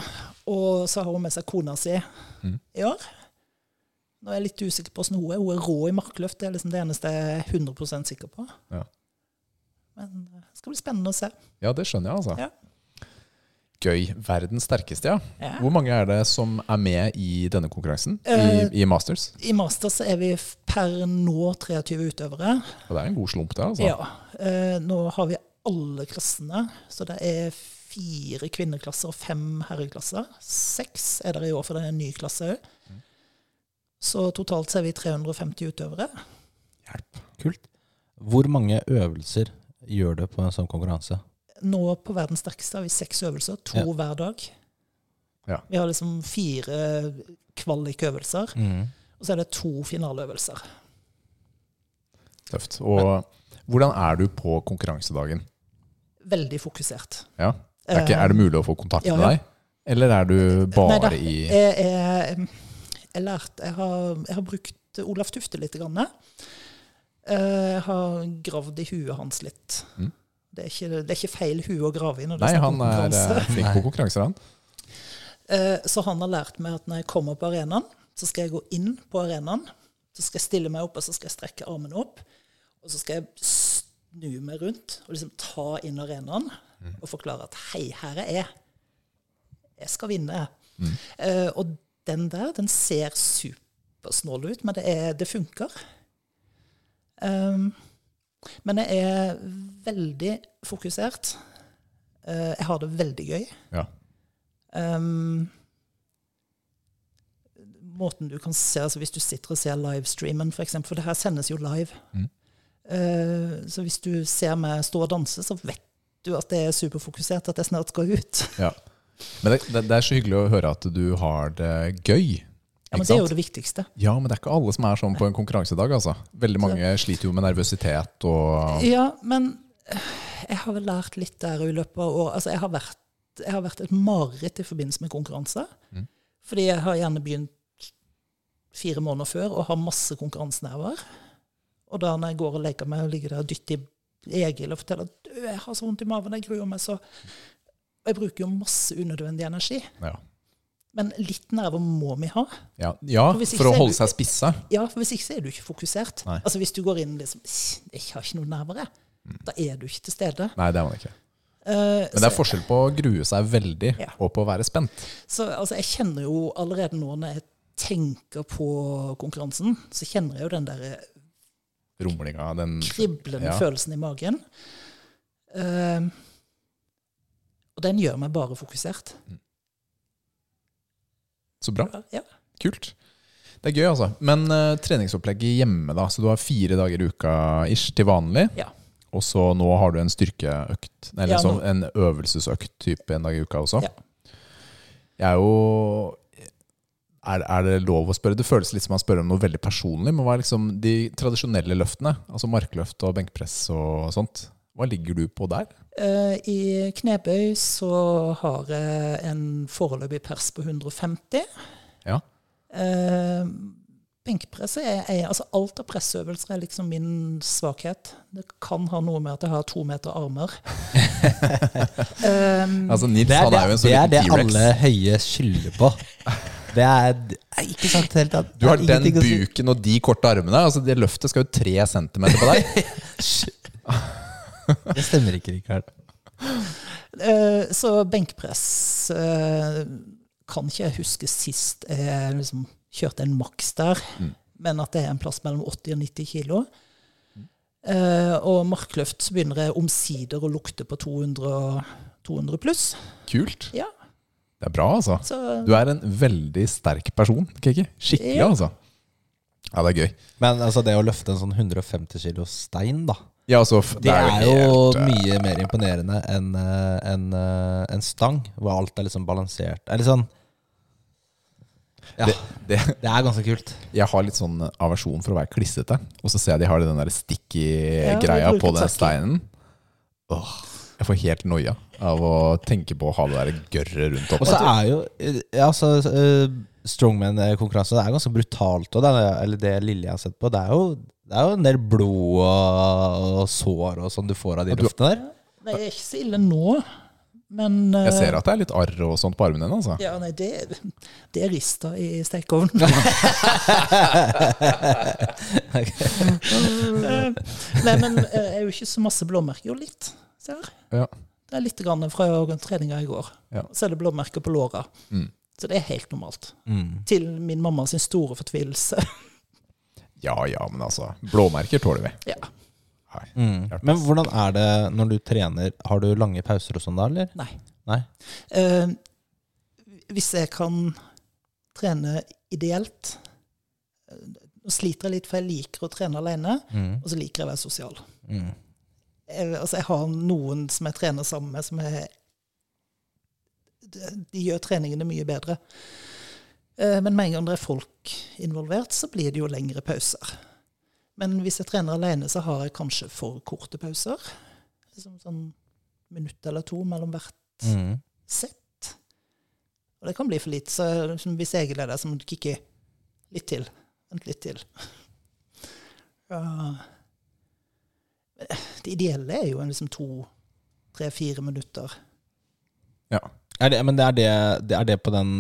Og så har hun med seg kona si
Mm.
i år. Nå er jeg litt usikker på åssen hun er. Hun er rå i markløft. Det er liksom det eneste jeg er 100 sikker på.
Ja.
Men eh, det skal bli spennende å se.
Ja, det skjønner jeg, altså.
Ja.
Gøy. Verdens sterkeste, ja.
Ja.
Hvor mange er det som er med i denne konkurransen?
Eh,
I, i Masters?
I master så er vi f- per nå 23 utøvere.
Og det er en god slump, det, altså.
Ja. Eh, nå har vi alle klassene, så det er fire kvinneklasser og fem herreklasser. Seks er det i år, for det er en ny klasse òg.
Mm.
Så totalt så er vi 350 utøvere.
Hjelp.
Kult. Hvor mange øvelser gjør du på en sånn konkurranse?
Nå på verdens sterkeste har vi seks øvelser, to
Ja.
hver dag.
Ja.
Vi har liksom fire kvalikøvelser,
Mm.
og så er det to finaleøvelser.
Tøft. Og hvordan er du på konkurransedagen?
Veldig fokusert. Eh,
Ja. Er, ikke, er det mulig å få kontakt
ja,
med
ja.
deg? Eller er du bare
Neida,
i
Jeg, jeg, jeg, lærte, jeg, har, jeg har brukt Olaf Tufte litt. Grann. Eh, Jeg har gravd i huet hans litt.
Mm.
Det, er ikke, det er ikke feil hue å grave i. når det
Nei,
er snakk om
han er eh,
konkurranse.
flink på konkurranser, han.
Eh, Så han har lært meg at når jeg kommer på arenaen, så skal jeg gå inn på arenaen. Så skal jeg stille meg opp, og så skal jeg strekke armene opp. Og så skal jeg snu meg rundt og liksom ta inn arenaen og forklare at hei, her er jeg. Jeg skal vinne. Eh, og den der, den ser supersnål ut, men det, er, det funker. Um, men jeg er veldig fokusert. Eh, jeg har det veldig gøy.
Ja.
Ehm, måten du kan se, altså Hvis du sitter og ser livestreamen, for, eksempel, for det her sendes jo live
Mm.
Eh, Så hvis du ser meg stå og danse, så vet du at det er superfokusert, at jeg snart skal ut.
ja. Men det, det, det er så hyggelig å høre at du har det gøy.
Ja, men
ikke
Det er jo
sant?
det viktigste.
ja, men det er ikke alle som er sånn på en konkurransedag. Altså. Veldig mange sliter jo med nervøsitet og
Ja, men eh, jeg har vel lært litt der i løpet av året. Altså, jeg har vært, jeg har vært et mareritt i forbindelse med konkurranse.
Mm.
Fordi jeg har gjerne begynt fire måneder før og har masse konkurransenerver. Og da når jeg går og legger meg og ligger der og dytter i Egil og forteller at «Du, jeg har så vondt i maven, jeg gruer meg så Og Jeg bruker jo masse unødvendig energi.
Ja,
Men litt nerver må vi ha.
ja, ja
For hvis ikke
for å
så er
holde
du-
seg spisse.
Ja, for Hvis ikke så er du ikke fokusert.
Nei. Mm.
Altså Hvis du går inn liksom Jeg har ikke noe nerver, jeg. Da er du ikke til stede.
Nei, det er man ikke.
Eh,
Men det er forskjell på å grue seg veldig
Ja.
og på å være spent.
Så altså, jeg kjenner jo allerede nå når jeg tenker på konkurransen, så kjenner jeg jo den der eh,
Rumlinga, den
kriblende
Ja.
følelsen i magen. Eh, og den gjør meg bare fokusert.
Så bra.
Ja.
Kult. Det er gøy, altså. Men eh, treningsopplegget hjemme, da. Så du har fire dager i uka ish til vanlig.
Ja.
Og så nå har du en styrkeøkt, eller
Ja,
sånn
nå-
en øvelsesøkt type en dag i uka også.
Ja.
Jeg er jo er, er det lov å spørre? Det føles litt som man spør om noe veldig personlig, men hva er liksom de tradisjonelle løftene? Altså markløft og benkpress og sånt. Hva ligger du på der?
Eh, I knebøy så har jeg en foreløpig pers på 150.
Ja.
Eh, Benkpress er, er altså Alt av pressøvelser er liksom min svakhet. Det kan ha noe med at jeg har to meter armer. Eh,
Altså Nils
Mm. Det er det,
han er jo en
det,
sånn
er det
liten T-rex.
alle høye skylder på. Det er, det er ikke sant helt at
Du har
det er
den
ingenting å si.
buken og de korte armene. Altså Det løftet skal jo tre centimeter på deg.
Det stemmer ikke, Rikard.
eh, så benkpress eh, kan ikke jeg huske sist jeg liksom kjørte en maks der,
Mm.
men at det er en plass mellom 80 og 90 kilo.
Mm.
Eh, og markløft så begynner jeg omsider å lukte på 200, og- 200 pluss.
Kult.
Ja,
Det er bra, altså.
så
Du er en veldig sterk person, Kiki. Skikkelig,
Ja.
altså. Ja, det er gøy.
Men altså, det å løfte en sånn 150 kilo stein, da,
Ja, altså, f-
det er jo
helt, eh,
mye mer imponerende enn eh, en, eh, en stang, hvor alt er liksom balansert. Eller sånn Ja,
det, eh, det,
det er ganske kult.
Jeg har litt sånn aversjon for å være klissete. Og så ser jeg de har den der sticky
Ja,
greia
de
på
bruker
den
takken.
steinen. Åh, jeg får helt noia av å tenke på å ha det der gørret rundt
Og så
opp.
er jo ja, altså, eh, Strongman-konkurranse Det er ganske brutalt. Og det, er- eller det lille jeg har sett på, det er jo, det er jo en del blod og, og sår og sånn du får av de
Ja, du-
løftene der.
Det er ikke så ille nå, men
Jeg ser at det er litt arr og sånt på armene hennes. Altså.
ja, nei, det, det er rista i stekeovnen. Eh, nei, men eh, jeg er jo ikke så masse blåmerker. Jo, litt. Ser.
Ja.
Det er litt grann fra treninga i går.
Ja.
Så er det blåmerker på låra.
Mm.
Så det er helt normalt.
Mm.
Til min mamma sin store fortvilelse.
ja ja, men altså. Blåmerker tåler vi.
ja.
Nei.
Mm. Men hvordan er det når du trener? Har du lange pauser og sånn da, eller?
Nei.
Nei?
Eh, hvis jeg kan trene ideelt eh, Nå sliter jeg litt, for jeg liker å trene alene,
Mm.
og så liker jeg å være sosial.
Mm.
jeg, altså jeg har noen som jeg trener sammen med, som jeg De, de gjør treningene mye bedre. Eh, Men med en gang det er folk involvert, så blir det jo lengre pauser. Men hvis jeg trener alene, så har jeg kanskje for korte pauser. Liksom sånn minutt eller to mellom hvert
Mm.
sett. Og det kan bli for lite. Så liksom, hvis jeg er der, så må du kikke litt til. Vent litt til. Ja. Det ideelle er jo en liksom to, tre, fire minutter.
Ja.
Er det, men det er det, det er det på den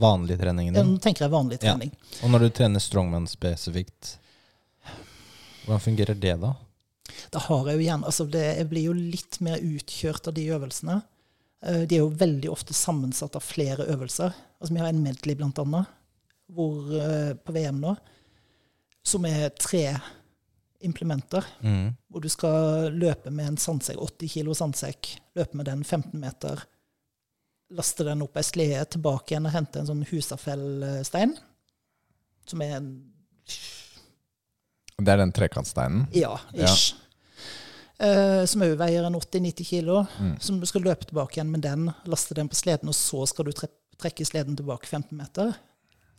vanlige treningen
Ja,
din?
Nå tenker jeg vanlig
Mm. Ja.
trening.
Og når du trener strongman spesifikt, hvordan fungerer det da?
Da har jeg jo igjen altså det, Jeg blir jo litt mer utkjørt av de øvelsene. Eh, De er jo veldig ofte sammensatt av flere øvelser. Altså Vi har en medley, blant annet, hvor, eh, på VM nå, som er tre implementer.
Mm.
hvor du skal løpe med en sandsekk, 80 kilo sandsekk, løpe med den 15 meter, laste den opp ei slede, tilbake igjen og hente en sånn Husafell-stein, som er en
Det er den trekantsteinen.
ja, ish. Eh, som òg veier en 80-90 kilo,
Mm.
som du skal løpe tilbake igjen med den, laste den på sleden, og så skal du tre trekke sleden tilbake 15 meter.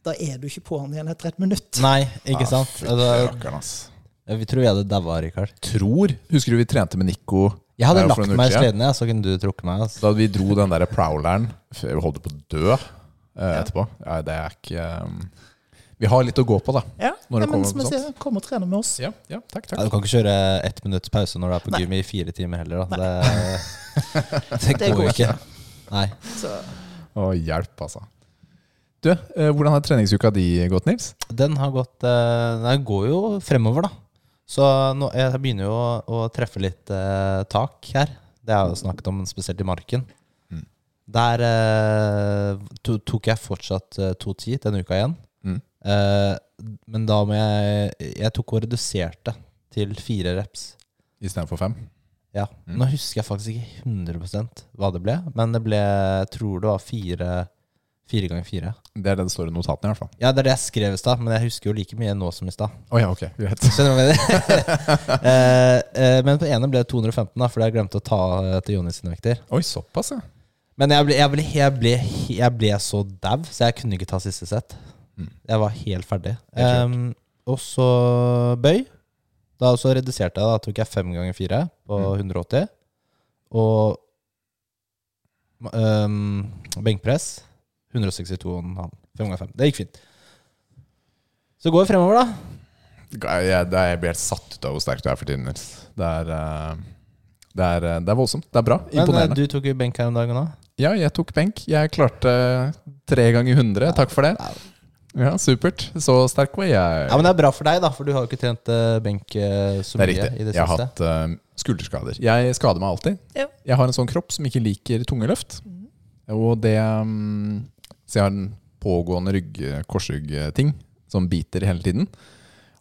Da er du ikke på den igjen etter et minutt.
Nei, ikke sant?
Ja, fytti
Altså,
rakkeren, Ah, ass.
vi tror jeg hadde daua, Rikard.
Tror Husker du vi trente med Nico?
Jeg hadde
eh, for
lagt
noen
meg i
uker siden?
sleden, ja, så kunne du trukket meg. Altså.
Da vi dro den der prowleren før Vi holdt på å dø eh, etterpå. Ja, det er ikke eh, Vi har litt å gå på, da.
Ja,
Når det
men
kommer
som
på
jeg sier, kom og trene med oss.
Ja, ja takk,
Ja, du kan ikke kjøre ett minutts pause når du er på gym i fire timer heller. Da. Det, det,
Det
går
går
ikke. Nei.
Så,
Å, hjelp, altså. Du, eh, hvordan har treningsuka di gått, Nils?
Den har gått eh, Den går jo fremover, da. Så nå, jeg begynner jo å, å treffe litt eh, tak her. Det har jeg jo snakket om, spesielt i marken.
Mm.
Der eh, to, tok jeg fortsatt eh, 2.10 denne uka igjen.
Mm.
Eh, men da må jeg Jeg tok og reduserte til fire reps.
Istedenfor fem?
Ja.
Mm.
Nå husker jeg faktisk ikke 100 hva det ble, men det ble jeg tror det var fire Fire ganger fire.
Det er det det står i notatene, i hvert fall.
Ja, det er det jeg skrev i stad, men jeg husker jo like mye nå som i stad.
Å ja, ok, greit.
Skjønner du hva jeg mener? Eh, eh, Men på ene ble det 215, da, fordi jeg glemte å ta eh, til Jonis sine vekter.
Oi, såpass, ja.
Men jeg ble, jeg ble, jeg ble, jeg ble så dau, så jeg kunne ikke ta siste sett.
Mm.
Jeg var helt ferdig.
Helt kjørt.
Ehm, og så bøy. Da også reduserte jeg. Da tok jeg fem ganger fire på
Mm.
180. Og ehm, benkpress 162,5. Fem ganger fem. Det gikk fint. Så går vi fremover, da.
Jeg, det er- jeg blir helt satt ut av hvor sterk du er for tiden, Nils. Det er, eh, det, er, eh, det er voldsomt. Det er bra.
Men eh,
Imponerende.
du tok jo benk her om dagen òg.
Ja, jeg tok benk. Jeg klarte tre ganger 100. Takk for det. Ja, Supert. Så sterk var jeg.
Ja, men det er bra for deg, da, for du har jo ikke trent eh, benk eh, så
Det
mye
er riktig.
i det
jeg har
siste.
hatt eh, skulderskader. Jeg skader meg alltid.
Ja.
Jeg har en sånn kropp som ikke liker tunge løft. Og det mm, Så jeg har en pågående rygg, korsryggting som biter hele tiden.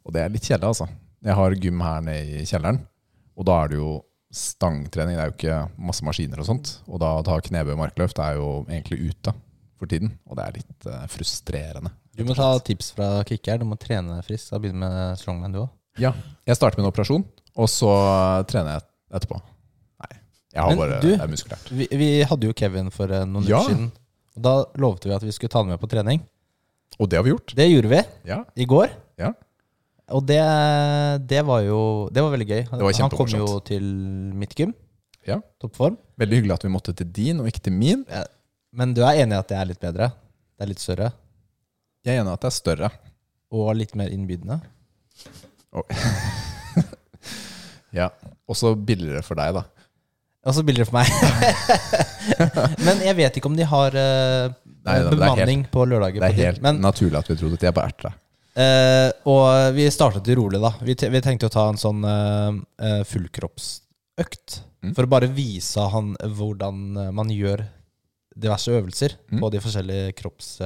Og det er litt kjedelig, altså. Jeg har gym her nede i kjelleren, og da er det jo stangtrening. Det er jo ikke masse maskiner og sånt. Og da å ta knebøy og markløft er jo egentlig ute for tiden, og det er litt eh, frustrerende.
Du må ta tips fra kicker. Du må trene friskt. Da begynner med strongman, du òg.
Ja, jeg starter med en operasjon, og så trener jeg etterpå. Nei, jeg har
Men
bare
du-
det er muskulært.
Vi, vi hadde jo Kevin for eh, noen
Ja.
uker siden. Og da lovte vi at vi skulle ta han med på trening.
Og det har vi gjort.
Det gjorde vi
Ja,
i går.
ja.
Og det, det var jo Det var veldig gøy. Han,
var
han kom jo
kjempemorsomt.
til mitt gym.
Ja.
Toppform.
Veldig hyggelig at vi måtte til din og ikke til min.
Men du er enig i at det er litt bedre? Det er litt større?
Jeg er enig i at det er større.
Og litt mer innbydende?
Ja. Også billigere for deg, da.
Og så billigere for meg. Men jeg vet ikke om de har eh,
Nei, det er
bemanning på lørdager.
Det
på
er
gym.
helt
Men
naturlig at vi trodde at jeg bare erter deg.
Eh, og vi startet jo rolig, da. Vi, te vi tenkte å ta en sånn eh, eh, fullkroppsøkt.
Mm.
For å bare vise han hvordan eh, man gjør diverse øvelser
Mm.
på de forskjellige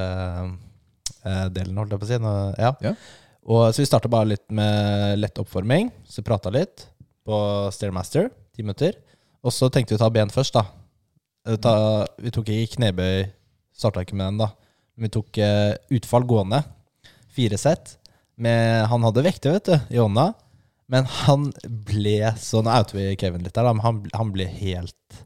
kroppsdelene, holdt jeg på å si. Nå, ja.
Ja.
Og, så vi starta bare litt med lett oppforming. Så prata litt på Stairmaster, ti minutter. Og så tenkte vi å ta ben først, da. Eh, Ta, vi tok ikke knebøy, starta ikke med den, da. Men vi tok eh, utfall gående fire sett. Med, han hadde vekter, vet du, i hånda. Men han ble sånn outer vi Kevin litt der, da, men han, han ble helt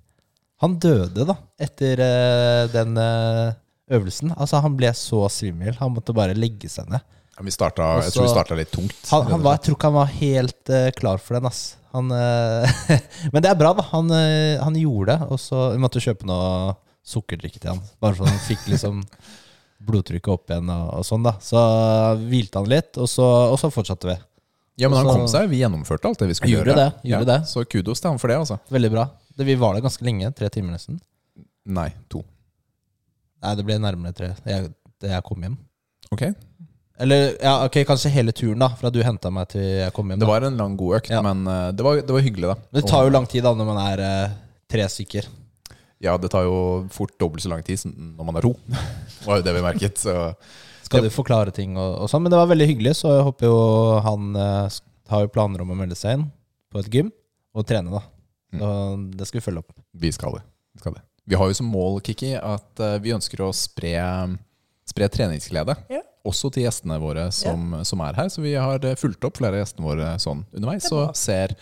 Han døde, da, etter eh, den eh, øvelsen. Altså, han ble så svimmel. Han måtte bare legge seg ned.
Ja, vi starta,
Også-
jeg tror vi starta litt tungt.
Han, han var, jeg tror ikke han var helt eh, klar for den, ass. Han, eh, men det er bra, da. Han, eh, han gjorde det. Og så vi måtte kjøpe noe sukkerdrikke til han. Bare så han fikk liksom blodtrykket opp igjen og, og sånn, da. Så hvilte han litt, og så, og så fortsatte vi.
Ja, Men han
også-
kom seg. Vi gjennomførte alt det vi skulle
Gjorde
gjøre.
det, gjorde det.
Så kudos til han for det, altså.
Veldig bra. Det, vi var der ganske lenge. Tre timer nesten.
Nei, to.
Nei, det ble nærmere tre jeg, da jeg kom hjem.
Ok.
Eller ja, ok, kanskje hele turen, da. Fra du henta meg til jeg kom hjem.
Det
Da.
var en lang, god økt,
Ja.
men eh, det var, det var hyggelig, da.
Men det tar jo lang tid da når man er eh, tre stykker.
Ja, det tar jo fort dobbelt så lang tid som når man er to. Det var jo det vi merket. Så
Skal du forklare ting og, og sånn. Men det var veldig hyggelig, så jeg håper jo han eh, sk- har jo planer om å melde seg inn på et gym og trene, da. Så det skal vi følge opp.
vi skal det. Vi, skal det. vi har jo som mål, Kikki, at eh, vi ønsker å spre, spre treningsglede.
Ja.
Også til gjestene våre som, som er her. Så vi har eh, fulgt opp flere av gjestene våre sånn underveis.
Det er bra.
Og ser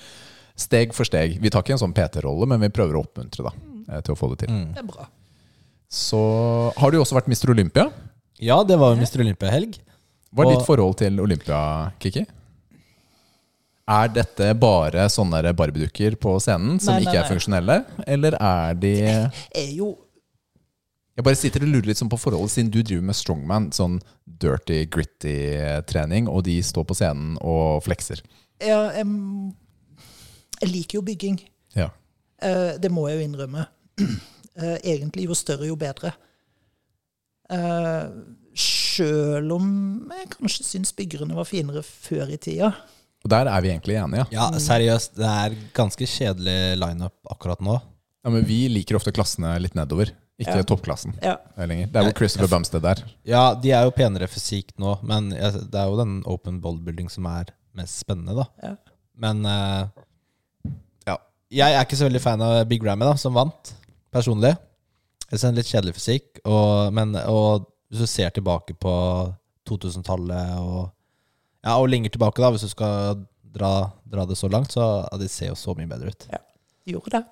steg for steg. Vi tar ikke en sånn PT-rolle, men vi prøver å oppmuntre da,
Mm.
eh, til å få det til.
Det er bra.
Så har du jo også vært Mr. Olympia.
Ja, det var jo Mr. Olympia-helg.
Hva er
Og-
ditt forhold til Olympia, Kiki? Er dette bare sånne der barbiedukker på scenen som
Nei, nei,
ikke er
nei.
funksjonelle? Eller er de Jeg
Jeg er jo
bare sitter og lurer litt sånn på forholdet, siden du driver med strongman, sånn dirty, gritty eh, trening, og de står på scenen og flekser.
jeg, em, jeg liker jo bygging.
Ja.
Eh, det må jeg jo innrømme. Eh, egentlig jo større, jo bedre. Eh, Sjøl om jeg kanskje syns byggerne var finere før i tida.
Og der er vi egentlig enige. Ja.
Ja, seriøst, det er ganske kjedelig lineup akkurat nå.
Ja, men vi liker ofte klassene litt nedover, ikke
Ja.
toppklassen Eh,
Ja.
lenger. Det er hvor Christopher Bumstead er.
Ja, de er jo penere fysikk nå, men jeg- det er jo den open bodybuilding som er mest spennende, da.
Ja.
Men eh, ja. jeg er ikke så veldig fan av Big Rammy, da, som vant, personlig. Jeg synes en litt kjedelig fysikk, og, men, og hvis du ser tilbake på 2000-tallet og, ja, og lenger tilbake, da, hvis du skal dra, dra det så langt, så ja, de ser jo så mye bedre ut.
Gjorde det.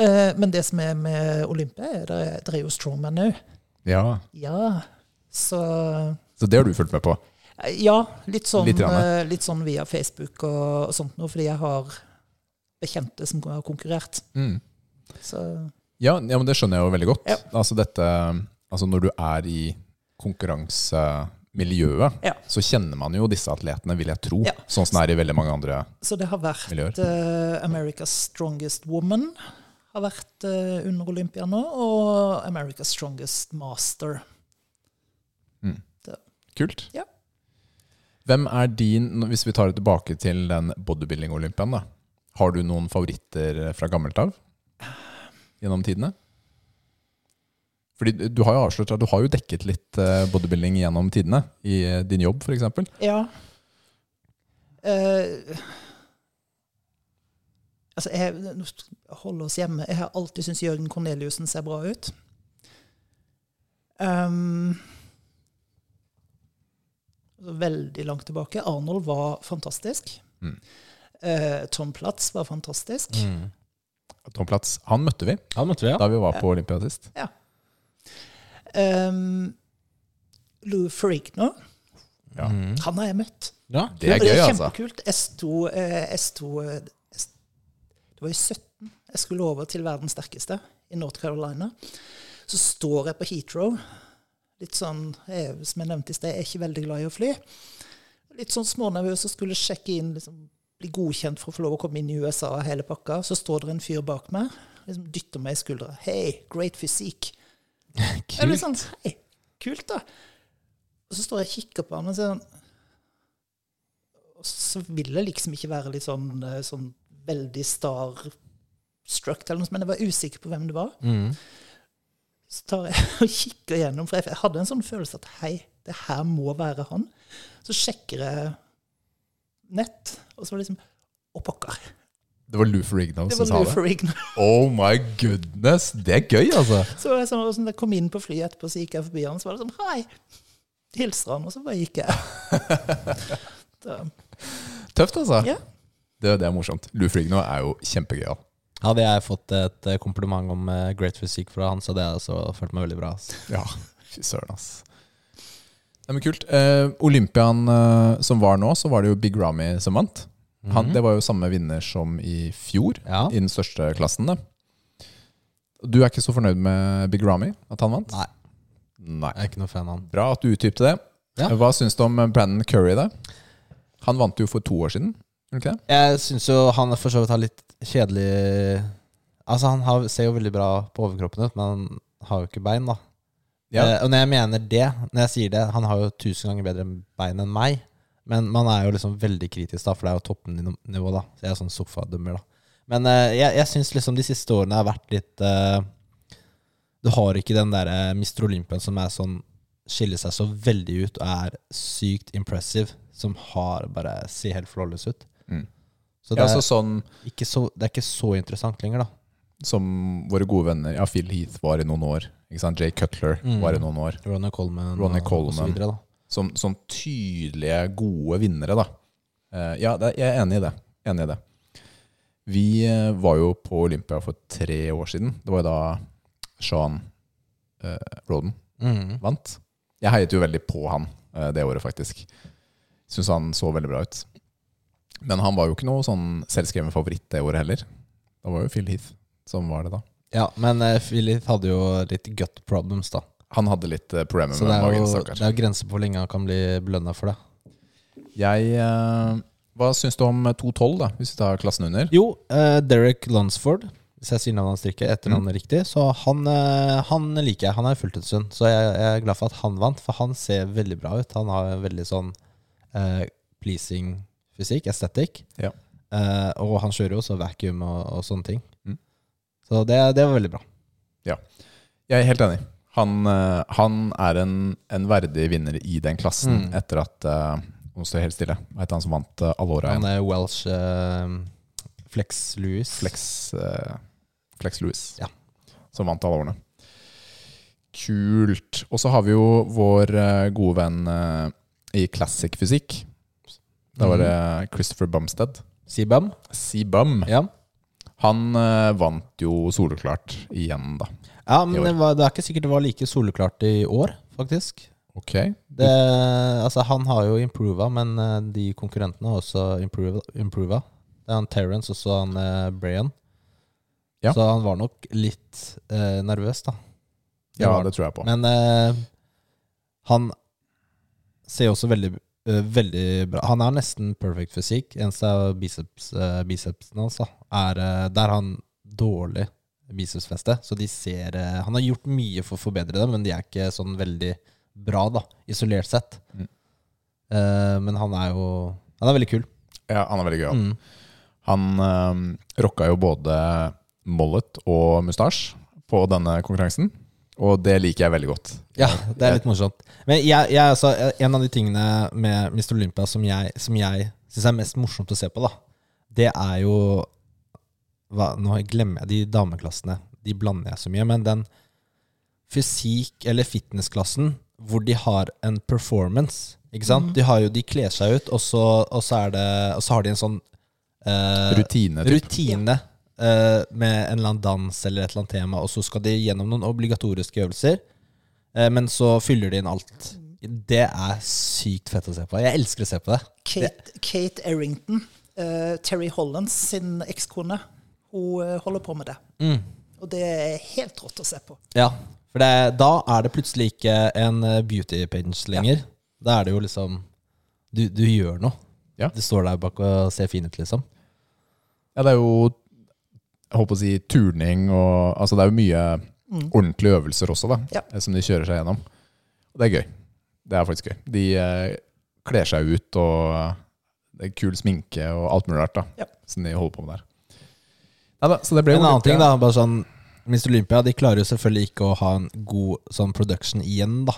Eh, men det som er med Olympia, er det, det er jo strongman òg.
Ja.
Ja. Så
Så det har du fulgt med på.
Ja, litt sånn,
Litt
litt,
grann,
litt sånn via Facebook og, og sånt noe, fordi jeg har bekjente som har konkurrert.
Mm.
Så
Ja, ja, men det skjønner jeg jo veldig godt.
Ja.
Altså dette, altså når du er i konkurransemiljøet,
Ja.
så kjenner man jo disse atletene, vil jeg tro.
Ja.
Sånn som det er i veldig mange andre.
Så det har vært
Miljøer.
eh, America's Strongest Woman har vært eh, under Olympia nå, og America's Strongest Master.
Kult.
Ja.
Hvem er din, hvis vi tar det tilbake til den bodybuilding-olympiaen da, har du noen favoritter fra gammelt av? Gjennom tidene? Fordi du har jo avslørt at du har jo dekket litt eh, bodybuilding gjennom tidene. I eh, din jobb, for eksempel.
Ja. Eh, altså, jeg nå sk- holder oss hjemme. Jeg har alltid syntes Jørgen Corneliussen ser bra ut. Ehm, altså, veldig langt tilbake. Arnold var fantastisk.
Mm.
Eh, Tom Platz var fantastisk.
Mm.
Tom Platz, han møtte vi
Han møtte vi, ja.
da vi var på Olympia sist.
Ehm, Lou Ferrigno,
Ja.
Mm.
han har jeg møtt.
ja.
Det er
Og
gøy,
det er
altså.
kjempekult. Jeg sto, eh, jeg sto eh, jeg st- Det var i 17. Jeg skulle over til verdens sterkeste i North Carolina. Så står jeg på Heathrow. Litt sånn, jeg, er jo, Som jeg nevnte i sted, jeg er ikke veldig glad i å fly. Litt sånn smånervøs og skulle sjekke inn, liksom, bli godkjent for å få lov å komme inn i USA og hele pakka. Så står det en fyr bak meg liksom dytter meg i skuldra. 'Hei, great physique'. Jeg
Kult.
blir sånn, hei, kult da. Og så står jeg og kikker på han og sier sånn, og så vil jeg liksom ikke være litt sånn, eh, sånn veldig starstruck eller noe, sånt, men jeg var usikker på hvem det var.
Mm.
Så tar jeg og kikker gjennom, for jeg- jeg hadde en sånn følelse at hei, det her må være han. Så sjekker jeg nett, og så var det liksom, å pokker,
Det var Lou Ferrigno
det
som
var
sa
Lou
det.
Ferrigno.
Oh my goodness! Det er gøy, altså.
Så var det sånn, og sånn, jeg kom inn på flyet etterpå, så gikk jeg forbi han, så var det sånn, hei, hilser han, og så bare gikk jeg. Da,
Tøft, altså.
Ja.
Det, det er morsomt. Lou Ferrigno er jo kjempegøyal.
Hadde jeg fått et eh, kompliment om eh, Great Physique fra han, så hadde jeg også følt meg veldig bra. altså. ass.
Ja, fy søren, ass. Nei, men kult. Eh, Olympiaen eh, som var nå, så var det jo Big Ramy som vant. Han,
Mhm.
Det var jo samme vinner som i fjor,
Ja.
i den største klassen. Da. Du er ikke så fornøyd med Big Ramy, at han vant?
Nei,
Nei.
jeg er ikke noe fan av han.
Bra at du utdypte det.
Ja.
Hva syns du om Brandon Curry, da? Han vant jo for to år siden. gjorde han Ikke det?
Jeg syns jo han for så vidt har litt kjedelig Altså, han har, ser jo veldig bra på overkroppen ut, men han har jo ikke bein, da.
Ja.
Eh, og når jeg mener det, når jeg sier det Han har jo tusen ganger bedre bein enn meg, men man er jo liksom veldig kritisk, da, for det er jo toppnivå, da. Så jeg er sånn sofadømmer, da. Men eh, jeg, jeg syns liksom de siste årene har vært litt eh, Du har ikke den derre Mr. Olympian som er sånn skiller seg så veldig ut og er sykt impressive, som har bare ser helt flawless ut.
Mm.
Så
ja,
det er,
altså sånn
ikke så, det er ikke så interessant lenger, da.
som våre gode venner Ja, Phil Heath var i noen år. Ikke sant? Jay Cutler
Mm.
var i noen år.
Ronny Coleman, og-
Ronny
og så
Coleman.
videre, da.
Som, som tydelige, gode vinnere, da. Eh, ja, det, jeg er enig i det. Enig i det. Vi eh, var jo på Olympia for tre år siden. Det var jo da Sean eh, Roden
Mm.
vant. Jeg heiet jo veldig på han eh, det året, faktisk. Syns han så veldig bra ut. Men han var jo ikke noe sånn selvskreven favoritt det året heller. Da var jo Phil Heath som var det, da.
Ja, men uh, Philip hadde jo litt gut problems, da.
Han hadde litt eh, problemer
Så det
med
er,
magen,
jo,
stakkar.
det er jo grenser på hvor lenge han kan bli belønna for det.
Jeg eh, Hva syns du om 212, da, hvis vi tar klassen under?
Jo, eh, Derek Lunsford, hvis jeg sier navnet hans riktig,
Mm.
etternavnet riktig, så han, eh, han liker jeg. Han er fulltidssund, så jeg, jeg er glad for at han vant, for han ser veldig bra ut. Han har en veldig sånn eh, pleasing fysikk, estetikk,
Ja.
Eh, og han kjører jo også vacuum og, og sånne ting.
Mm.
Så det, det var veldig bra.
Jeg er helt enig. Han, eh, han er en, en verdig vinner i den klassen
Mm.
etter at eh, Nå står jeg helt stille. Hva heter han som vant uh, Alora
Han
igjen?
er Welsh eh, Flex Lewis.
Flex, eh, Flex Lewis.
Ja.
Som vant alle årene. Kult. Og så har vi jo vår eh, gode venn eh, i classic fysikk.
Mm.
Da var det Christopher Bumstead.
Sibam.
Seabum.
Ja.
Han eh, vant jo soleklart igjen, da.
ja,
I
men
år.
det, var, det er ikke sikkert det var like soleklart i år, faktisk.
Ok.
Det, altså, han har jo improva, men eh, de konkurrentene har også improva. improva. Det er han Terence og så han eh, Brian.
Ja.
Så han var nok litt eh, nervøs, da.
Ja,
var han.
det tror jeg på.
Men eh, han ser også veldig, eh, veldig bra Han har nesten perfect fysikk. Eneste er biceps, eh, bicepsen hans. da, er, eh, der har han dårlig bicepsfeste. Så de ser eh, Han har gjort mye for å forbedre dem, men de er ikke sånn veldig bra, da, isolert sett.
Mm.
Eh, men han er jo Han er veldig kul.
Ja, han er veldig gøy. han.
Mm.
Han eh, rocka jo både mollet og mustasje på denne konkurransen, og det liker jeg veldig godt.
Ja, det er litt morsomt. Men jeg, jeg, er altså, en av de tingene med Mr. Olympia som jeg, som jeg syns er mest morsomt å se på, da, det er jo hva, Nå glemmer jeg de dameklassene. De blander jeg så mye. Men den fysikk- eller fitnessklassen hvor de har en performance ikke sant? De, har jo, de kler seg ut, og så, og så, er det, og så har de en sånn eh,
Rutine. typ.
rutine eh, med en eller annen dans eller et eller annet tema, og så skal de gjennom noen obligatoriske øvelser, eh, men så fyller de inn alt. Det er sykt fett å se på. Jeg elsker å se på det.
Kate, Kate Errington, eh, Terry Hollands sin ekskone, hun eh, holder på med det.
Mm.
Og det er helt rått å se på.
Ja, for det, da er det plutselig ikke en eh, beauty page lenger. Da er det jo liksom Du, du gjør noe.
Ja.
Du står der bak og ser fin ut, liksom.
Ja, det er jo jeg håper å si turning og Altså det er jo mye ordentlige øvelser også, da.
Mm. Ja.
eh, Som de kjører seg gjennom. Og det er gøy. Det er faktisk gøy. De eh, kler seg ut og eh, det er kul sminke og alt mulig rart, da.
Ja.
Som de holder på med der. Nei da, så det ble
En
jo
annen
litt-
ting, da. Bare sånn Mr. Olympia de klarer jo selvfølgelig ikke å ha en god sånn production igjen, da.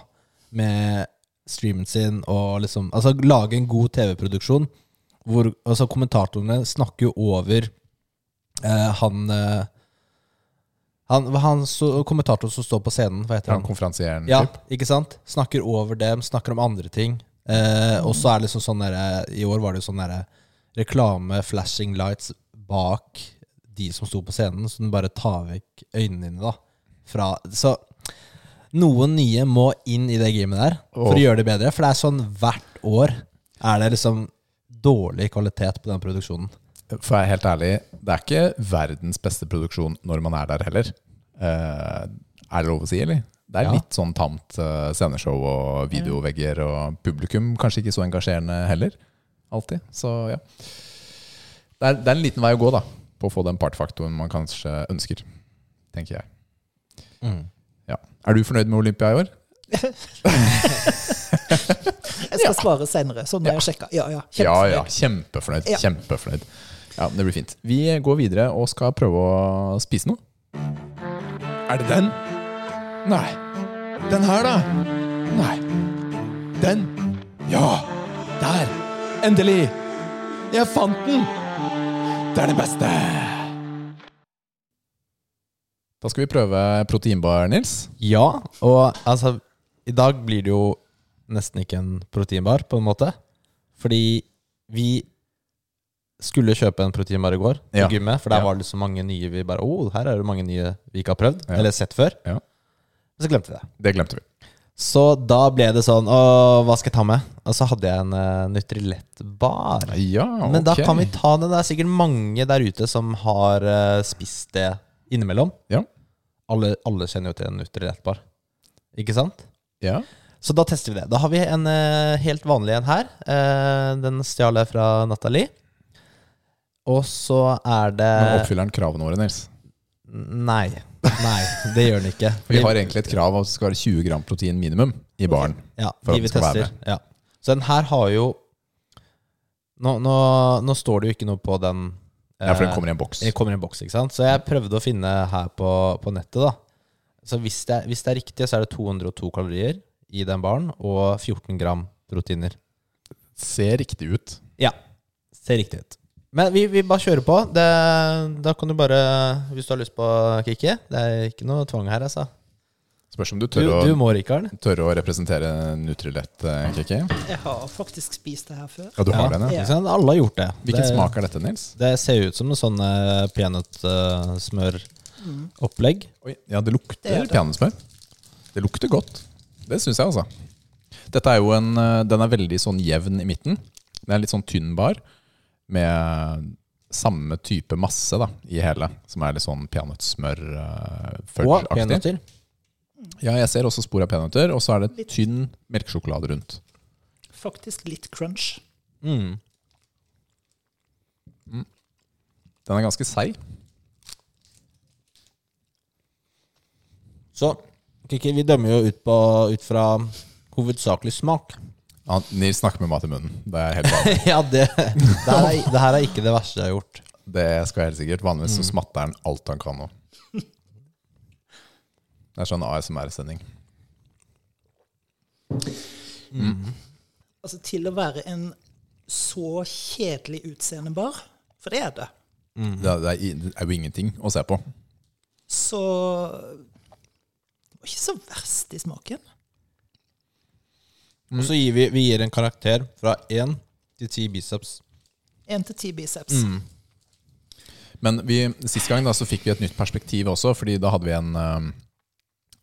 Med streamen sin og liksom Altså lage en god TV-produksjon. Hvor altså, kommentatorene snakker jo over eh, han eh, Han, han så, kommentator som står på scenen, hva heter
Ja,
han?
konferansieren,
Ja,
typ.
ikke sant? Snakker over dem, snakker om andre ting. Eh, og så er det liksom sånn derre I år var det jo sånn derre reklame, flashing lights bak de som sto på scenen, så den bare tar vekk øynene dine, da. Fra Så noen nye må inn i det gamet der for
Åh.
å gjøre det bedre. For det er sånn hvert år er det liksom dårlig kvalitet på den produksjonen.
For jeg er helt ærlig, det er ikke verdens beste produksjon når man er der heller. Eh, er det lov å si, eller? Det er
Ja.
litt sånn tamt eh, sceneshow og videovegger, og publikum kanskje ikke så engasjerende heller. Alltid. Så ja. Det er, det er en liten vei å gå, da, på å få den partfaktoren man kanskje ønsker. Tenker jeg. Ja. Er du fornøyd med Olympia i år?
Jeg skal svare senere, så nå har jeg sjekka. Ja, ja.
Ja,
Kjempefornøyd.
ja. Kjempefornøyd.
Ja.
Kjempefornøyd. Ja, Det blir fint. Vi går videre og skal prøve å spise noe. Er det den? Nei. Den her, da? Nei. Den? Ja! Der! Endelig! Jeg fant den! Det er det beste! Da skal vi prøve proteinbar, Nils.
Ja, og altså I dag blir det jo nesten ikke en proteinbar, på en måte. Fordi vi skulle kjøpe en proteinbar i går på
Ja.
gymmet, for der
Ja.
var det så mange nye vi bare oh, her er det mange nye vi ikke har prøvd,
Ja.
eller sett før.
Ja.
Men så glemte vi det.
Det glemte vi.
Så da ble det sånn Å, hva skal jeg ta med? Og så hadde jeg en uh, Nutrilett-bar.
Ja,
Men da
ok.
kan vi ta den. Det er sikkert mange der ute som har eh, spist det innimellom.
Ja.
Alle, alle kjenner jo til en Nutrilett-bar. Ikke sant?
Ja.
Så da tester vi det. Da har vi en eh, helt vanlig en her. Eh, den stjal jeg fra Nathalie. Og så er det
Men oppfyller den kravene våre, Nils?
Nei. Nei, det gjør den ikke.
Vi har egentlig et krav om at det skal være 20 gram protein minimum i baren.
ja,
for at
de vi
den skal være
tester. Ja. Så den her har jo nå, nå, nå står det jo ikke noe på den.
Ja, for den
eh,
kommer i en boks.
Den kommer i en boks, ikke sant? Så jeg prøvde å finne her på, på nettet, da. Så hvis det, hvis det er riktig, så er det 202 kalorier i den baren, og 14 gram proteiner.
Ser riktig ut.
Ja, ser riktig ut. Men vi, vi bare kjører på. Det, da kan du bare, hvis du har lyst på Kikki Det er ikke noe tvang her, altså.
Spørs om du
Du,
tør,
du
å,
må, Rikard.
tør å representere Nutrilett, eh, Kikki.
Jeg har faktisk spist det her før.
Ja, du har den, ja.
ikke sant? Alle har gjort det.
Hvilken
det,
smak er dette, Nils?
Det ser ut som en sånn eh, peanøttsmøropplegg.
Oi, ja, det
Det
lukter
gjør det.
peanøttsmør. Det lukter godt. Det syns jeg, altså. Dette er jo en, eh, den er veldig sånn jevn i midten. Den er litt sånn tynn bar, med samme type masse da, i hele, som er litt sånn eh,
Og
peanøttsmør-følgeaktig.
peanøtter.
Ja, jeg ser også spor av peanøtter, og så er det
Litt.
tynn melkesjokolade rundt.
Faktisk litt crunch.
Mm.
Den er ganske seig.
Så Kikki, vi dømmer jo ut, på, ut fra hovedsakelig smak.
Ja, Nils snakker med mat i munnen. Det er helt vanlig.
ja, det, det, her er, det her er ikke det verste jeg har gjort.
Det skal jeg helt sikkert. Vanligvis så smatter han alt han kan nå. Det er sånn ASMR-sending.
Altså til å være en så kjedelig utseende bar, for det er det,
Det, er- det, er i- det er jo ingenting å se på.
så Det var ikke så verst i smaken.
Og så gir vi, vi gir en karakter fra én til ti biceps.
Én til ti biceps.
Mm.
Men vi, sist gang da, så fikk vi et nytt perspektiv også, fordi da hadde vi en eh,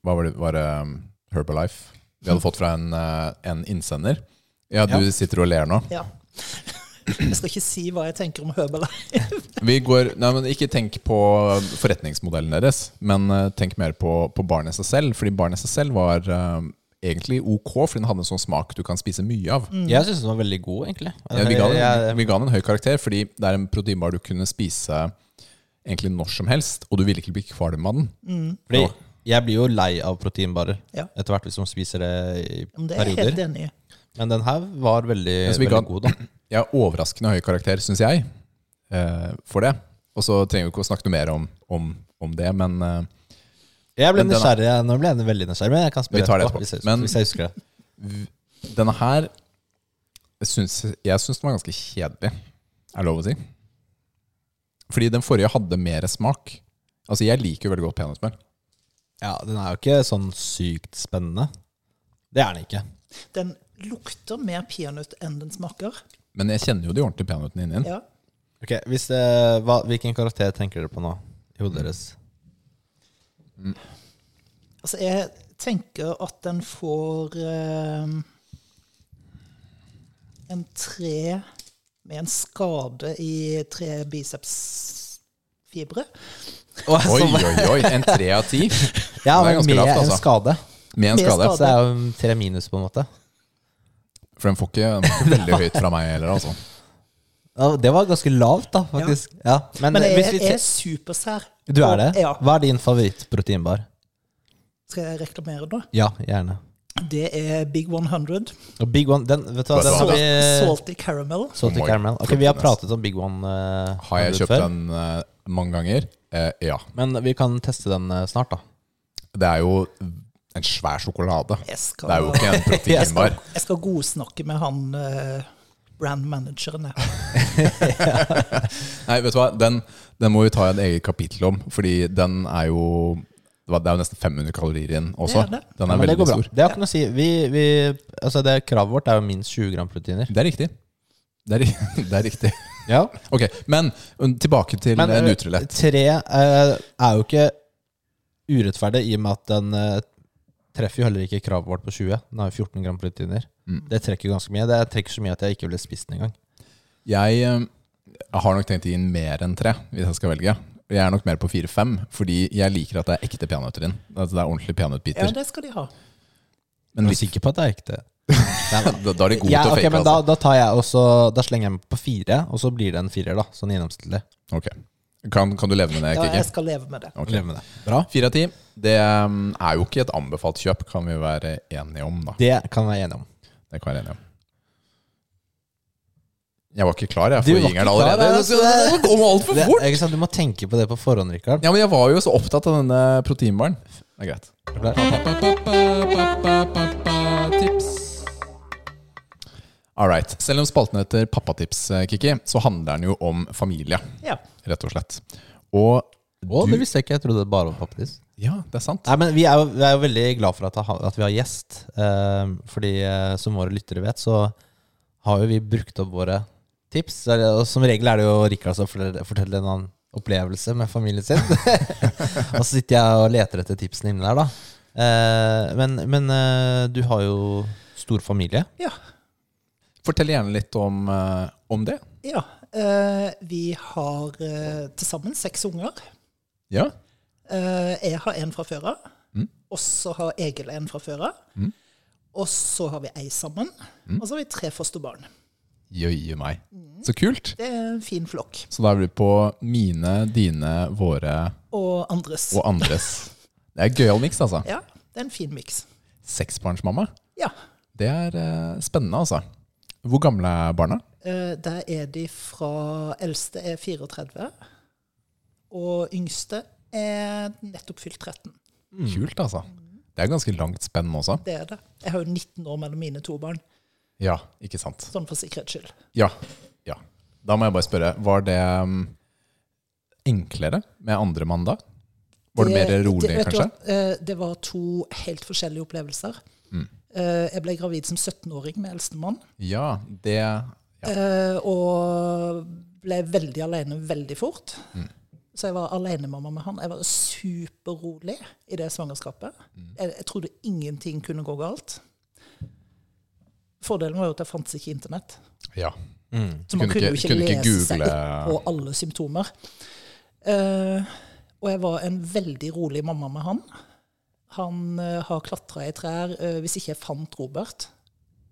Hva var det? Var det eh, Herbalife? Vi hadde fått fra en, eh, en innsender. Ja, du
Ja.
sitter og ler nå.
Ja. Jeg skal ikke si hva jeg tenker om Høbelei.
Vi går, nei, men ikke tenk på forretningsmodellen deres, men eh, tenk mer på, på baren i seg selv. Fordi baren i seg selv var eh, egentlig ok, fordi den hadde en sånn smak du kan spise mye av.
Mm.
Jeg syns den var veldig god, egentlig.
Mm. Ja, vi, ga den,
Jeg-
vi ga den en høy karakter, fordi det er en proteinbar du kunne spise egentlig når som helst, og du ville ikke bli kvalm av den.
Fordi jeg blir jo lei av proteinbarer
Ja.
etter hvert hvis man spiser det i
Men det er jeg helt
perioder.
enig i.
Men den her var veldig,
Ja, så vi
veldig
ga-
god, da.
Jeg har overraskende høy karakter, syns jeg, eh, for det. Og så trenger vi ikke å snakke noe mer om, om, om det, men eh,
Jeg ble
Men den-
nysgjerrig, nå ble jeg veldig nysgjerrig, men jeg kan spørre
Vi tar det etterpå.
Hvis, jeg,
Men-
hvis jeg husker det.
denne her syns, Jeg syns den var ganske kjedelig, er det lov å si. Fordi den forrige hadde mer smak. Altså, jeg liker jo veldig godt peanøttsmør.
Ja, Den er jo ikke sånn sykt spennende. Det er den ikke.
Den lukter mer peanøtt enn den smaker.
Men jeg kjenner jo de ordentlige peanøttene
Mm.
inni den.
Ja.
Ok, hvis det, hva, Hvilken karakter tenker dere på nå? I hodet deres?
Altså, jeg tenker at den får eh, en tre med en skade i tre bicepsfibre.
Åh,
Oi,
som-
oi, oi! En tre av ti
altså, ja,
det er
men
ganske
med
lavt, altså.
en skade.
med en
Med
skade.
Så det er jo en tre minus, på en måte.
For den får ikke, den får ikke veldig høyt fra meg heller, altså.
Ja, det var ganske lavt, da, faktisk. Ja. Men, eh,
Men
hvis
jeg,
vi
jeg er
ser-
supersær.
du er det?
Ja.
Hva er din favorittproteinbar?
Skal jeg reklamere da?
Ja, gjerne.
Det er Big 100.
Og Big One, den, vet du hva, den har
Salt-
vi
Salty caramel.
Salty
Oh my
caramel. Ok, Vi har
goodness.
pratet om Big One eh,
Har jeg kjøpt
før,
den eh, mange ganger? Eh, ja.
men vi kan teste den eh, snart, da.
Det er jo en svær sjokolade.
Jeg
Det er
skal,
jo ikke en
jeg skal,
proteinbar.
jeg skal godsnakke med han eh, brandmanageren. jeg.
Nei, vet du hva? Den, den må vi ta et eget kapittel om, fordi den er jo det var- det er jo nesten 500 kalorier i den også.
Det er det.
Den
Ja,
er
men det
veldig
går bra.
stor.
Det har ikke noe å si. Vi, vi, altså det Kravet vårt er jo minst 20 gram proteiner.
Det er riktig. Det er, ri- det er riktig.
Ja,
Ok, Men um, tilbake til
Men
eh,
eh,
Nutrilett.
tre eh, er jo ikke urettferdig i og med at den eh, treffer jo heller ikke kravet vårt på 20. Den har jo 14 gram proteiner.
Mm.
Det trekker jo ganske mye. Det trekker så mye at jeg ikke ville spist den engang.
Jeg, eh, har nok tenkt å gi den mer enn tre, hvis jeg skal velge. Jeg er nok mer på fire-fem, fordi jeg liker at det er ekte peanøtter i den. Altså, det er ordentlige
Ja,
peanøttbiter.
det skal de ha.
Men
Men litt-
er sikker på at det er ekte. Nei, men-
Da, da er de gode
Ja,
til å
ok,
fake,
men da,
altså.
da, tar jeg også, da slenger jeg meg på fire, og så blir det en firer, da. Sånn gjennomsnittlig.
Ok. Kan, kan du leve med det,
Ja,
Kikki?
jeg skal leve med det.
Ok.
Lever med det. Bra.
Fire av ti. Det um, er jo ikke et anbefalt kjøp, kan vi være enige om, da.
Det kan vi være enige om.
Det kan vi være enige om. Jeg var ikke klar, jeg,
Du
for
var ikke
jingeren
klar,
allerede.
altså.
Det kom altfor
Det,
fort!
ikke sant? Du må tenke på det på forhånd, Rikard.
Ja, men jeg var jo så opptatt av denne proteinbaren. Det er greit. All right. Selv om spalten heter Pappatips, eh, Kikki, så handler den jo om familie,
Ja.
rett og slett. Og
Å,
du
det visste jeg ikke. Jeg trodde det bare var pappetips.
Ja, det er sant.
Nei, men vi er jo, vi er jo veldig glad for at, ha- at vi har gjest. Eh, fordi eh, som våre lyttere vet, så har jo vi brukt opp våre tips. Så er det- Og som regel er det jo Rikard som forteller forteller en annen opplevelse med familien sin. og så Ehm, sitter jeg og leter etter tipsene inni der, da. Eh, men men eh, du har jo stor familie.
Ja.
Fortell gjerne litt om, eh, om det.
ja. Eh, vi har eh, til sammen seks unger.
Ja.
Eh, jeg har en fra før av.
Mm.
Og så har Egil en fra før av.
Mm.
Og så har vi ei sammen. Og så har vi tre fosterbarn.
Jøye meg.
Mm.
Så kult.
Det er en fin flokk.
Så da er vi på mine, dine, våre
Og andres.
og andres. Det er gøyal miks, altså.
Ja, det er en fin miks.
Seksbarnsmamma.
Ja.
Det er eh, spennende, altså. Hvor gamle er barna?
Eh, der er de fra Eldste er 34, og yngste er nettopp fylt 13.
Kult, altså. Det er ganske langt spenn også.
Det er det. Jeg har jo 19 år mellom mine to barn,
Ja, ikke sant.
sånn for sikkerhets skyld.
Ja. ja. Da må jeg bare spørre, var det mm, enklere med andre mann da? Var det, mer rolig,
vet du
kanskje?
hva? Eh, Det var to helt forskjellige opplevelser.
Mm.
Eh, Jeg ble gravid som 17-åring med eldstemann,
Ja, det ja.
eh, og ble veldig alene veldig fort. Så jeg var alenemamma med han. Jeg var superrolig i det svangerskapet. Jeg, jeg trodde ingenting kunne gå galt. Fordelen var jo at det fantes ikke internett.
ja.
Så man
Kunne ikke-
kunne, jo
kunne ikke
ikke, lese seg
google-
opp på alle symptomer. Eh, og jeg var en veldig rolig mamma med han. Han eh, har klatra i trær. eh, hvis ikke jeg fant Robert,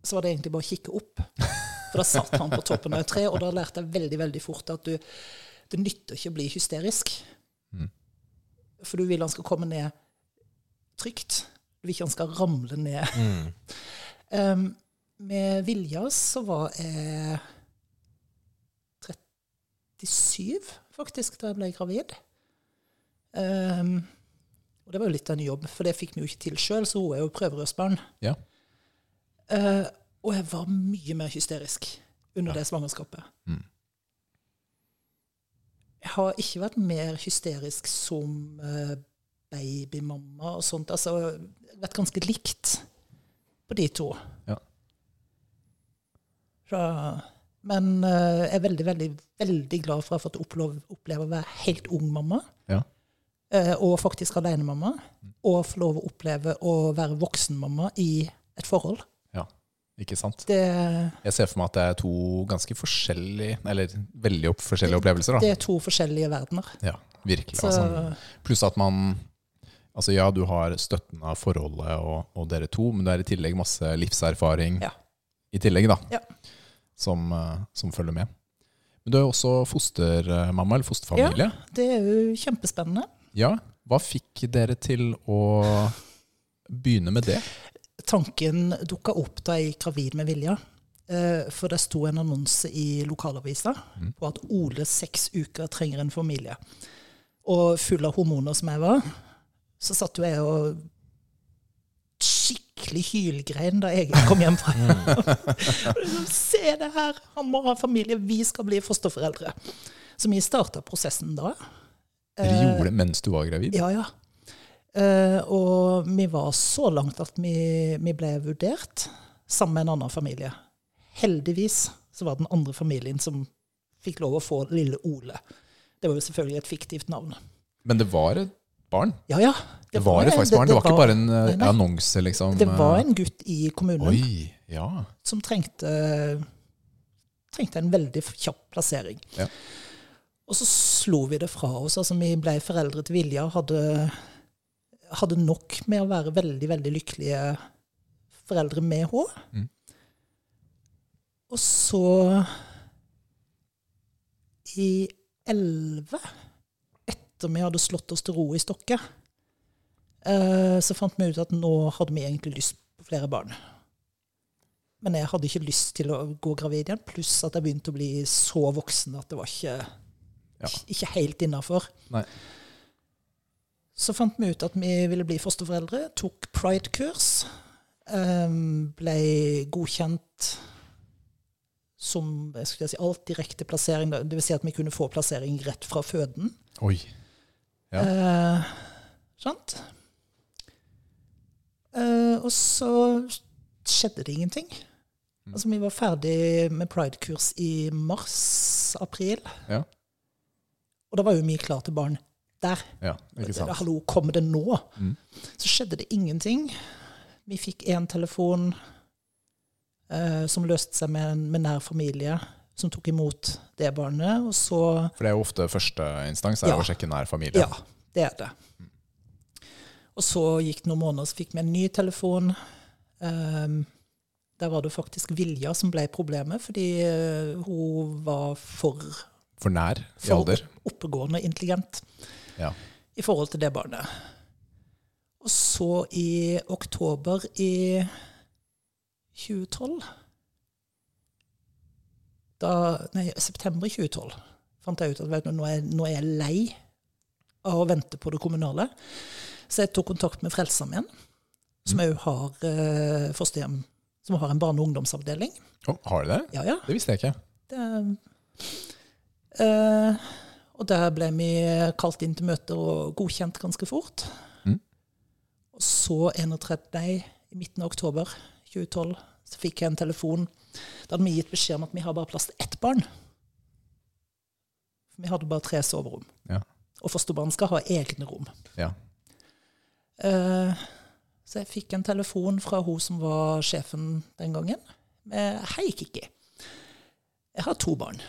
så var det egentlig bare å kikke opp. For da satt han på toppen av et tre, og da lærte jeg veldig veldig fort at du, det nytter ikke å bli hysterisk.
Mm.
For du vil han skal komme ned trygt. Du vil ikke han skal ramle ned.
Mm.
Um, med vilja så var jeg 37, faktisk, da jeg ble gravid. Um, og det var jo litt av en jobb, for det fikk vi jo ikke til sjøl, så hun er jo prøverørsbarn.
ja.
Eh, og jeg var mye mer hysterisk under det svangerskapet.
Mm.
Jeg har ikke vært mer hysterisk som eh, babymamma og sånt. Altså, jeg har vært ganske likt på de to.
Ja.
Så, men eh, jeg er veldig, veldig, veldig glad for å ha fått oppleve, oppleve å være helt ung mamma.
Ja. Mm.
eh, Og faktisk alenemamma. Og få lov å oppleve å være voksenmamma i et forhold.
ja. Ikke sant.
Det
Jeg ser for meg at det er to ganske forskjellige, eller veldig opp forskjellige opplevelser. da.
Det er to forskjellige verdener.
Ja, virkelig.
Så,
Altså. Pluss at man Altså ja, du har støtten av forholdet og, og dere to, men det er i tillegg masse livserfaring
Ja.
i tillegg da,
Ja.
som, eh, som følger med. Men du er jo også fostermamma, eller fosterfamilie.
det er jo kjempespennende.
Ja. Hva fikk dere til å begynne med det?
Tanken dukka opp da jeg gikk gravid med Vilja. Eh, For det sto en annonse i lokalavisa
Mm.
på at Ole seks uker trenger en familie. Og full av hormoner som jeg var, så satt jo jeg og skikkelig hylgrein da Egil kom hjem
Mm.
fra sånn, Se det her! Han må ha familie, vi skal bli fosterforeldre. Så vi starta prosessen da.
Dere gjorde det mens du var gravid?
Eh, Ja, ja. Eh, og vi var så langt at vi, vi ble vurdert sammen med en annen familie. Heldigvis så var det den andre familien som fikk lov å få lille Ole. Det var jo selvfølgelig et fiktivt navn.
Men det var et barn?
Ja, ja.
Det, var det faktisk barn? Det, var ikke bare en eh,
nei, nei.
annonse, liksom?
Det var en gutt i kommunen
Oi, ja.
som trengte, trengte en veldig kjapp plassering.
Ja.
Og så slo vi det fra oss. altså Vi ble foreldre til Vilja og hadde, hadde nok med å være veldig, veldig lykkelige foreldre med henne.
Mm.
Og så i elleve, etter vi hadde slått oss til ro i stokket, eh, så fant vi ut at nå hadde vi egentlig lyst på flere barn. Men jeg hadde ikke lyst til å gå gravid igjen, pluss at jeg begynte å bli så voksen at det var ikke,
Ja.
ikke helt innafor.
Nei.
Så fant vi ut at vi ville bli fosterforeldre, tok pride-kurs, ehm, ble godkjent som jeg skulle si, alt direkte plassering, da. det vil Si at vi kunne få plassering rett fra føden.
Oi. Ja.
Eh, sant? Eh, og så skjedde det ingenting.
Mm.
Altså, vi var ferdig med Pride-kurs i mars-april,
Ja.
og da var jo vi klar til barn der.
ja ikke sant. Mm.
Hallo, kommer det nå? Så skjedde det ingenting. Vi fikk én telefon eh, som løste seg med, en- med nær familie, som tok imot det barnet. Og så
For det er jo ofte første instans er
Ja.
å sjekke nær familie.
Ja, det er det. Og så gikk det noen måneder, så fikk vi en ny telefon. Ehm, der var det faktisk Vilja som ble problemet, fordi eh, hun var for,
For nær i
for
alder.
oppegående og intelligent
Ja.
i forhold til det barnet. Og så i oktober i 2012 da, Nei, september i 2012 fant jeg ut at vet du, nå, er, nå er jeg lei av å vente på det kommunale. Så jeg tok kontakt med Frelsesarmeen, som òg har eh, fosterhjem, som har en barne- og ungdomsavdeling.
Å, har de det?
Ja, ja.
Det visste jeg ikke.
Det, eh, og der ble vi kalt inn til møter og godkjent ganske fort.
Mm.
Og så 31. Nei, i midten av oktober 2012 så fikk jeg en telefon. Da hadde vi gitt beskjed om at vi har bare plass til ett barn. Vi hadde bare tre soverom.
Ja.
Og fosterbarn skal ha egne rom.
Ja.
Eh, så jeg fikk en telefon fra hun som var sjefen den gangen. Med, Hei, Kikki. Jeg har to barn.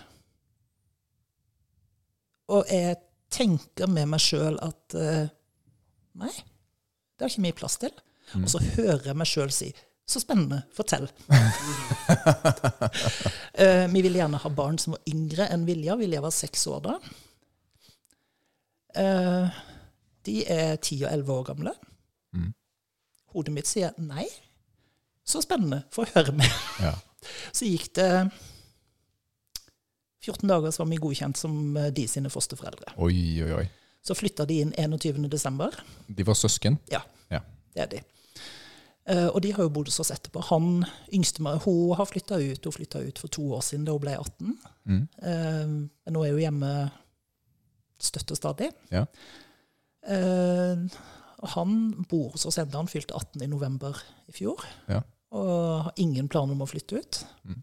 Og jeg tenker med meg sjøl at eh, nei, det har ikke mye plass til. Og så hører jeg meg sjøl si så spennende, fortell. Eh, vi ville gjerne ha barn som var yngre enn Vilja. Vilja var seks år da. Eh, de er 10 og 11 år gamle. Hodet mitt sier nei. Så spennende. Få høre mer.
ja.
Så gikk det 14 dager, så var vi godkjent som eh, de sine fosterforeldre.
Oi, oi, oi.
Så flytta de inn 21. desember.
De var søsken?
Ja,
Ja.
det er de. Eh, og de har jo bodd hos oss etterpå. Han yngste med, Hun har flytta ut. Hun flytta ut for to år siden, da hun ble 18.
Mm.
Eh, men nå er hun hjemme støtt og stadig.
Ja.
Eh, og han bor hos oss ennå. Han fylte 18 i november i fjor.
Ja.
Og har ingen planer om å flytte ut.
Mm.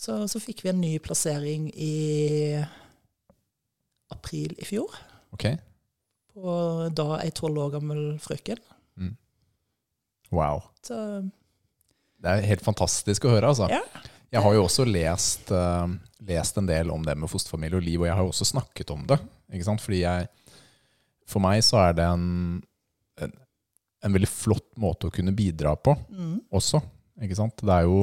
Så, så fikk vi en ny plassering i april i fjor
Ok.
på da ei tolv år gammel frøken.
Wow.
Så
Det er helt fantastisk å høre, altså.
Ja.
Jeg har jo også lest, eh, lest en del om det med fosterfamilie og liv, og jeg har jo også snakket om det. Ikke sant? Fordi jeg, for meg så er det en, en, en veldig flott måte å kunne bidra på
mm,
også. Ikke sant? Det er jo,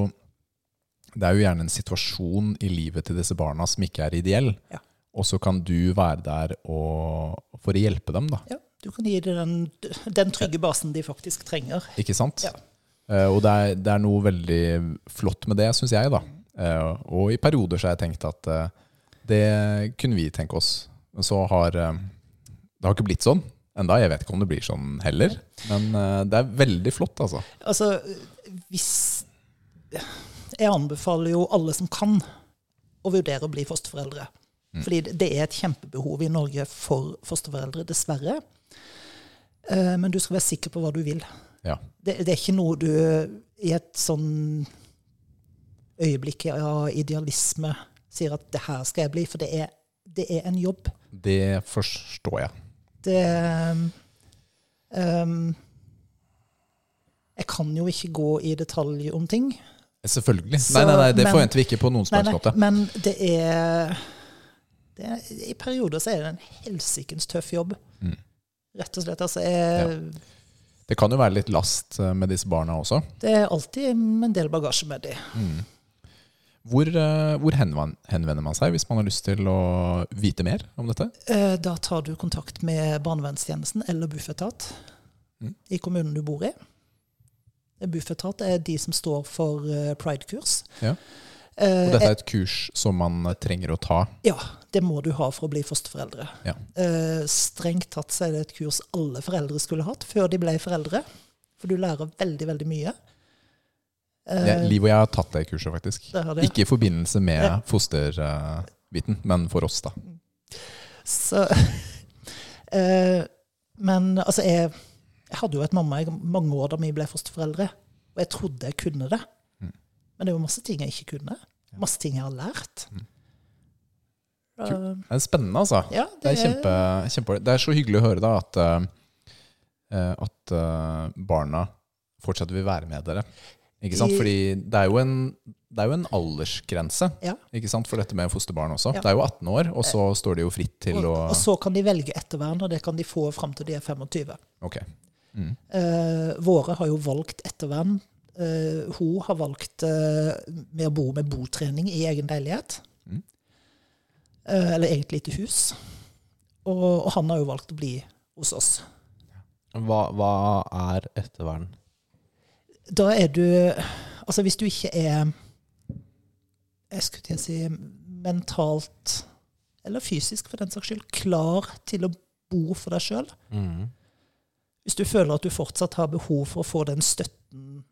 det er jo gjerne en situasjon i livet til disse barna som ikke er ideell.
Ja.
Og så kan du være der og, for å hjelpe dem, da.
ja, du kan gi dem den, den trygge basen de faktisk trenger.
Ikke sant?
Ja.
Eh, og det er, det er noe veldig flott med det, syns jeg. da. Eh, og i perioder så har jeg tenkt at eh, det kunne vi tenke oss. Men så har eh, det har ikke blitt sånn enda. Jeg vet ikke om det blir sånn heller. Men eh, det er veldig flott, altså.
Altså, hvis Jeg anbefaler jo alle som kan, å vurdere å bli fosterforeldre. Fordi det- det er et kjempebehov i Norge for fosterforeldre, dessverre. Eh, Men du skal være sikker på hva du vil.
Ja.
Det, det er ikke noe du i et sånn øyeblikk av idealisme sier at 'det her skal jeg bli', for det er, det er en jobb.
Det forstår jeg.
Det eh, ehm, Jeg kan jo ikke gå i detalj om ting.
Selvfølgelig.
Så,
nei, nei, nei, det
men-
forventer vi ikke på noen som
Nei,
helst
nei,
måte.
men det er, det er I perioder så er det en helsikens tøff jobb.
Mm.
Rett og slett. Altså, jeg,
Det kan jo være litt last eh, med disse barna også. Mm.
Det er alltid en del bagasje med de.
Hvor, eh, hvor henven- henvender man seg hvis man har lyst til å vite mer om dette?
Eh, Da tar du kontakt med barnevernstjenesten eller Bufetat
Mm.
i kommunen du bor i. Bufetat er de som står for eh, Pride-kurs.
Ja. Og
Eh,
dette er et kurs som man trenger å ta.
Ja, det må du ha for å bli fosterforeldre.
Ja.
Eh, strengt tatt så er det et kurs alle foreldre skulle hatt før de ble foreldre. For du lærer veldig, veldig mye. Eh,
Jeg, Liv og jeg har tatt det kurset, faktisk.
det har det.
Ikke i forbindelse
Ja.
med fosterbiten, men for oss, da.
Så, eh, men altså, jeg, jeg hadde jo et mamma i mange år da vi ble fosterforeldre, og jeg trodde jeg kunne det.
Mm.
Men det var masse ting jeg ikke kunne. Masse ting jeg har lært.
Mm.
Eh,
Det er spennende, altså.
ja,
Det er kjempe, kjempe Det er så hyggelig å høre da at, eh, at eh, barna fortsatt vil være med dere. Ikke sant?
I-
Fordi det er jo en, det er jo en aldersgrense
Ja.
ikke sant? for dette med fosterbarn også.
Ja.
Det er jo 18 år, og så står de jo fritt til
Og,
å
og så kan de velge ettervern, og det kan de få fram til de er 25.
Ok. Mm.
Eh, våre har jo valgt ettervern. Eh, hun har valgt eh, med å bo med botrening i egen leilighet.
Mm.
Eh, eller eget lite hus. Og, og han har jo valgt å bli hos oss.
Hva, hva er ettervern?
Da er du Altså, hvis du ikke er Jeg skulle til å si mentalt, eller fysisk for den saks skyld, klar til å bo for deg sjøl,
Mm.
hvis du føler at du fortsatt har behov for å få den støtten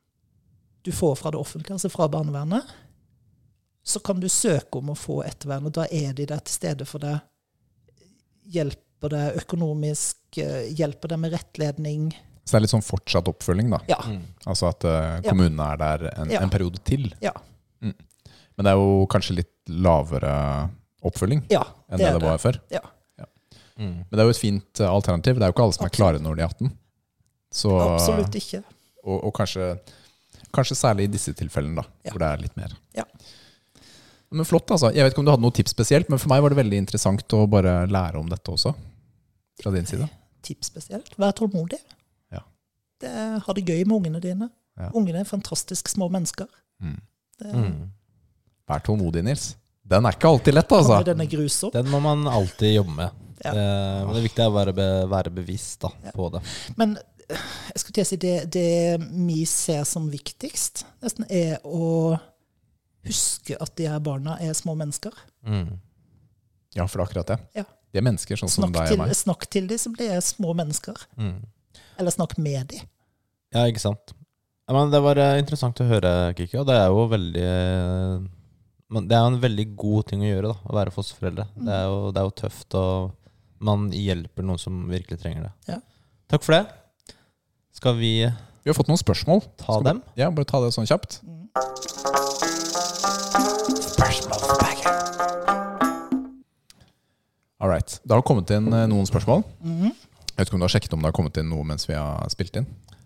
du får fra det offentlige, altså fra barnevernet, så kan du søke om å få ettervern, og da er de der til stede for deg. Hjelper deg økonomisk, eh, hjelper deg med rettledning.
Så det er litt sånn fortsatt oppfølging, da.
Ah.
Ja.
Mm.
Altså at eh,
Ja.
kommunene er der en,
Ja.
en periode til.
Ja.
Mm. Men det er jo kanskje litt lavere oppfølging
ja
enn det det, var før.
Ja.
Mm.
Men det er jo et fint eh, alternativ. Det er jo ikke alle som er klare når de er 18. Så,
Absolutt ikke.
Og, og kanskje, kanskje særlig i disse tilfellene, da,
Ja.
hvor det er litt mer.
Ja.
Men flott, altså. Jeg vet ikke om du hadde noe tips spesielt, men for meg var det veldig interessant å bare lære om dette også. Fra din side.
Tips spesielt. Vær tålmodig.
Ja.
Det, ha det gøy med ungene dine.
Ja.
Ungene er fantastisk små mennesker.
Mm.
Det,
Mm.
Vær tålmodig, Nils. Den er ikke alltid lett, altså.
Den er grusom.
Den må man alltid jobbe med.
Ja.
Eh, men det viktige er å være, be, være bevisst da,
Ja.
på det.
Men øh, jeg skulle til å si det, det vi ser som viktigst, nesten er å huske at de her barna er små mennesker.
Mm.
Ja, for det er akkurat det.
Ja.
De er mennesker, sånn som
Snakk
deg og
til,
meg.
snakk til de som de er små mennesker.
Mm.
Eller snakk med de.
Ja, ikke sant. Ja, men det var eh, interessant å høre, Kikki. Og det er jo veldig eh, men Det er jo en veldig god ting å gjøre, da, å være fosterforeldre. Det, er jo, det er jo tøft, og man hjelper noen som virkelig trenger det.
Ja.
Takk for det. Skal vi
Vi har fått noen spørsmål.
ta dem?
Ja, bare ta det sånn kjapt. All right. Det har kommet inn eh, noen spørsmål.
Mhm.
Jeg vet ikke om du har sjekket om det har kommet inn noe mens vi har spilt inn?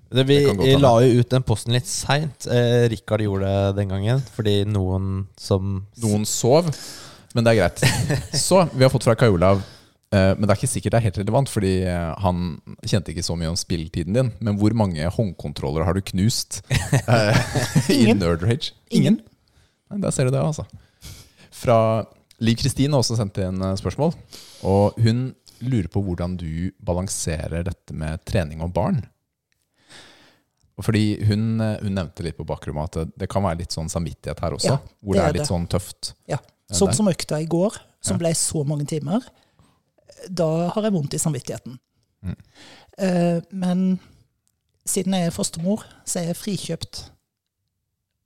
Det, vi
Det kan godt hende.
la jo ut den posten litt seint. Eh, Rikard gjorde det den gangen fordi noen som
Noen sov, men det er greit. Så vi har fått fra Kai Olav. eh, Men det er ikke sikkert det er helt relevant, fordi eh, han kjente ikke så mye om spilletiden din. Men hvor mange håndkontroller har du knust eh, i
Ingen.
Nerd Rage?
Ingen.
Nei, der ser du det, altså. Fra Liv Kristine har også sendt inn eh, spørsmål. Og hun lurer på hvordan du balanserer dette med trening og barn. Og Fordi hun, eh, hun nevnte litt på bakrommet at det- det kan være litt sånn samvittighet her også.
Ja,
hvor
det
det
er
er litt
det.
sånn tøft.
Ja.
Ja,
Sånn
der.
som økta i går, som
Ja.
ble så mange timer. Da har jeg vondt i samvittigheten.
Mm.
Eh, men siden jeg er fostermor, så er jeg frikjøpt